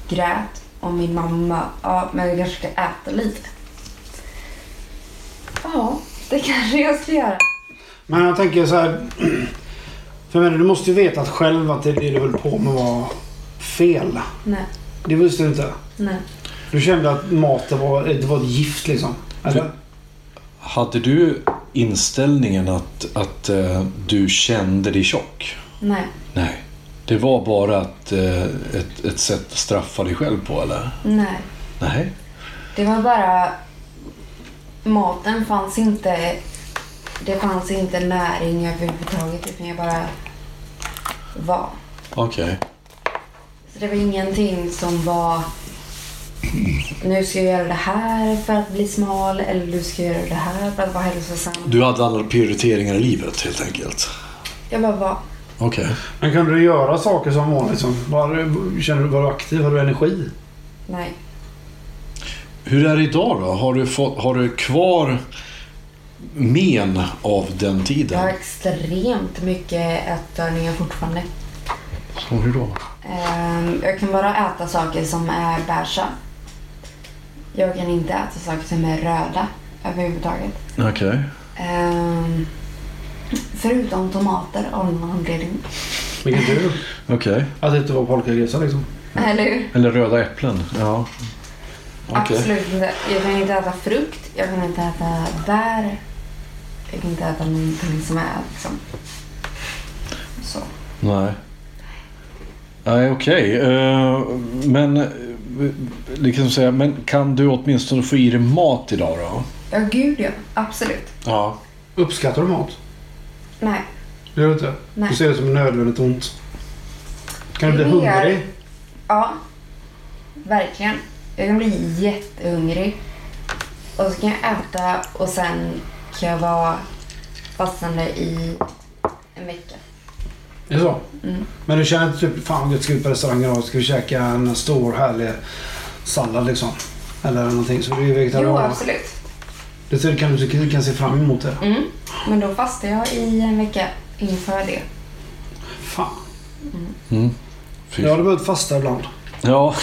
Speaker 2: grät. Och min mamma, ja men jag kanske ska äta lite. Ja, det kanske jag ska göra.
Speaker 1: Men jag tänker så här. (clears throat) För jag menar, du måste ju veta att själv att det, det du höll på med var fel.
Speaker 2: Nej,
Speaker 1: Det visste du inte.
Speaker 2: nej.
Speaker 1: Du kände att maten var, eh, det var ett gift liksom. Eller?
Speaker 3: hade du inställningen att, att eh, du kände dig tjock?
Speaker 2: Nej,
Speaker 3: Nej. Det var bara att, eh, ett, ett sätt att straffa dig själv på eller?
Speaker 2: nej.
Speaker 3: Nej.
Speaker 2: Det var bara... Maten fanns inte... Det fanns inte näring överhuvudtaget utan jag bara var.
Speaker 3: Okej.
Speaker 2: Så
Speaker 6: Det var ingenting som var nu ska jag göra det här för att bli smal eller du ska göra det här för att vara hälsosam.
Speaker 3: Du hade alla prioriteringar i livet helt enkelt.
Speaker 6: Jag bara var
Speaker 3: Okej.
Speaker 1: Men kunde du göra saker som vanligt? Som, var, du- kände du, var du aktiv? Hade du energi?
Speaker 6: nej.
Speaker 3: Hur är det idag då? Har du, fått, har du kvar men av den
Speaker 6: Jag
Speaker 3: tiden?
Speaker 6: har extremt mycket ätstörningar fortfarande.
Speaker 3: Så hur då?
Speaker 6: Ehm, Jag kan bara äta saker som är beiga. Jag kan inte äta saker som är röda överhuvudtaget.
Speaker 3: Okej.
Speaker 6: Ehm, Förutom tomater av någon anledning.
Speaker 1: Vilken tur
Speaker 3: Okej.
Speaker 1: att det inte var polkagrisar liksom.
Speaker 6: Eller hur?
Speaker 3: Eller röda äpplen. Ja. Okej.
Speaker 6: Absolut inte. Jag kan inte äta frukt, jag kan inte äta bär. Jag kan inte äta någonting som är liksom... Så.
Speaker 3: Nej. Nej, okej. Eh, men, eh, liksom säga, men kan du åtminstone få i dig mat idag då?
Speaker 6: Ja, gud ja. Absolut.
Speaker 3: Ja.
Speaker 1: Uppskattar du mat?
Speaker 6: Nej.
Speaker 1: Det gör du inte?
Speaker 6: Nej.
Speaker 1: Du ser det som nödvändigt ont. Kan du bli
Speaker 6: Det är-
Speaker 1: hungrig?
Speaker 6: Ja. Verkligen. Jag kan bli jättehungrig. Och så kan jag äta och sen kan jag vara fastande i en vecka.
Speaker 1: Är det så?
Speaker 6: Mm.
Speaker 1: Men du känner inte typ, fan gött ska vi på restaurang idag. Ska vi käka en stor härlig sallad liksom? Eller någonting. Så du är ju
Speaker 6: Jo,
Speaker 1: vegetarian.
Speaker 6: absolut. Mm.
Speaker 1: Det ser- kan du kan, kan se fram emot det.
Speaker 6: Men då fastar jag i en vecka inför det.
Speaker 1: Fan.
Speaker 3: Fy.
Speaker 1: Jag hade behövt fasta ibland.
Speaker 3: Ja.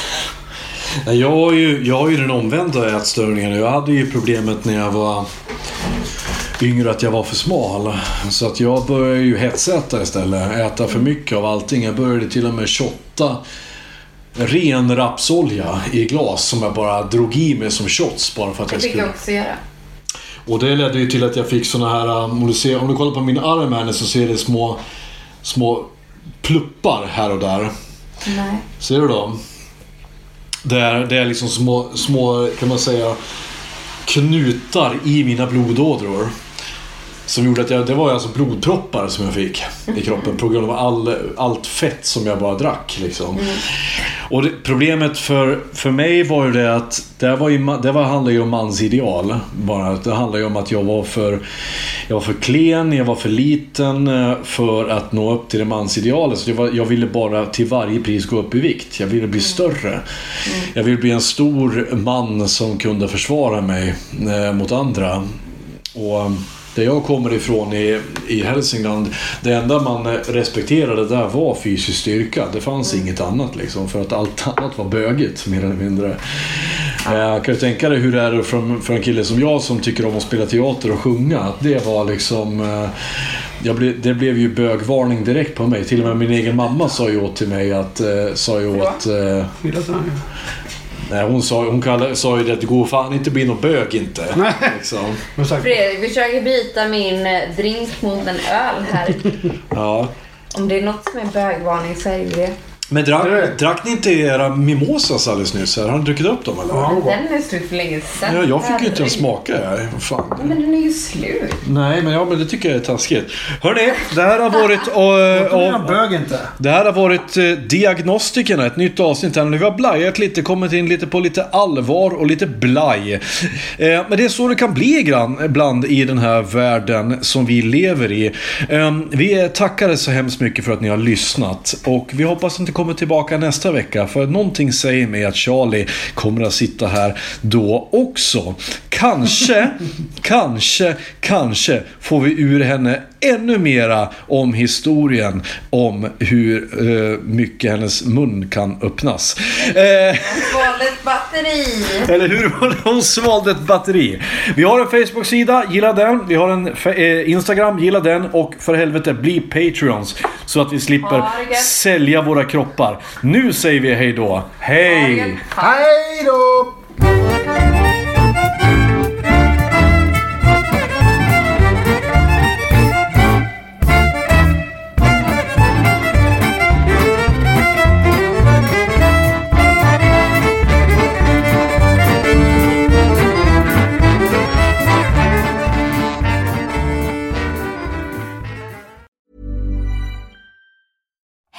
Speaker 3: Nej, Jag har ju, jag har ju den omvända ätstörningen. Jag hade ju problemet när jag var yngre att jag var för smal. Så att jag började ju hetsäta istället. Äta för mycket av allting. Jag började till och med shotta ren rapsolja i glas som jag bara drog i mig som shots bara för att
Speaker 6: Det
Speaker 3: jag
Speaker 6: fick
Speaker 3: skulle...
Speaker 6: jag också göra.
Speaker 3: Och det ledde ju till att jag fick såna här, um, om du, ser, om du kollar på min arm här nu så ser det små, små pluppar här och där.
Speaker 6: Nej.
Speaker 3: Ser du dem? Det är, det är liksom små, små, kan man säga, knutar i mina blodådror. Som gjorde att jag, det var alltså blodproppar som jag fick i kroppen på grund av all, allt fett som jag bara drack. Liksom. Och det, problemet för, för mig var ju det att det, här var ju, ma- det var, handlade ju om mansideal. Bara. Det handlade ju om att jag var, för, jag var för klen, jag var för liten eh, för att nå upp till det mansidealet. Så det var, jag ville bara till varje pris gå upp i vikt. Jag ville bli större. Jag ville bli en stor man som kunde försvara mig eh, mot andra. Och um, där jag kommer ifrån i, i Hälsingland, det enda man respekterade där var fysisk styrka. Det fanns inget annat liksom, för att allt annat var bögigt mer eller mindre. Eh, kan du tänka dig hur det är för, för en kille som jag som tycker om att spela teater och sjunga? Att det var liksom... eh, Jag ble, det blev ju bögvarning direkt på mig. Till och med min egen mamma sa ju åt till mig att... Eh, sa ju åt, eh,
Speaker 1: Vill du att den här-
Speaker 3: nej, hon sa, hon kallade, sa ju det att du går fan inte bli någon bög inte. Liksom.
Speaker 1: Men sagt,
Speaker 2: Fredrik försöker byta min eh, drink mot en öl här.
Speaker 3: Ja.
Speaker 2: Om det är något som är bögvarning så är det ju det.
Speaker 3: Men drack, drack ni inte era mimosas alldeles nyss? Här? Har ni druckit upp dem eller?
Speaker 1: ja, bra.
Speaker 2: Den är slut för länge sedan.
Speaker 3: Ja, jag fick ju inte ens
Speaker 2: Herregud.
Speaker 3: smaka. här. Vad Fan.
Speaker 2: Men den är ju slut.
Speaker 3: Nej, men, ja, men det tycker jag är taskigt. Hörni, det här har varit...
Speaker 1: Låt
Speaker 3: Och,
Speaker 1: den här bög inte.
Speaker 3: det här har varit eh, Diagnostikerna, ett nytt avsnitt här. Nu har vi blajat lite, kommit in lite på lite allvar och lite blaj. Eh, men det är så det kan bli grann, ibland i den här världen som vi lever i. Eh, vi tackar er så hemskt mycket för att ni har lyssnat. Och vi hoppas att ni kommer tillbaka nästa vecka. För någonting säger mig att Charlie kommer att sitta här då också. Kanske, kanske, kanske får vi ur henne ännu mera om historien om hur eh, mycket hennes mun kan öppnas. Eh,
Speaker 2: Valet batteri.
Speaker 3: (laughs) eller hur? Hon svalde ett batteri. Vi har en Facebook-sida, gilla den. Vi har en fe- eh, Instagram, gilla den. Och för helvete, bli Patreons. Så att vi slipper
Speaker 2: Ha det gött.
Speaker 3: sälja våra kroppar. Nu säger vi hej då. Hej!
Speaker 1: Hej då!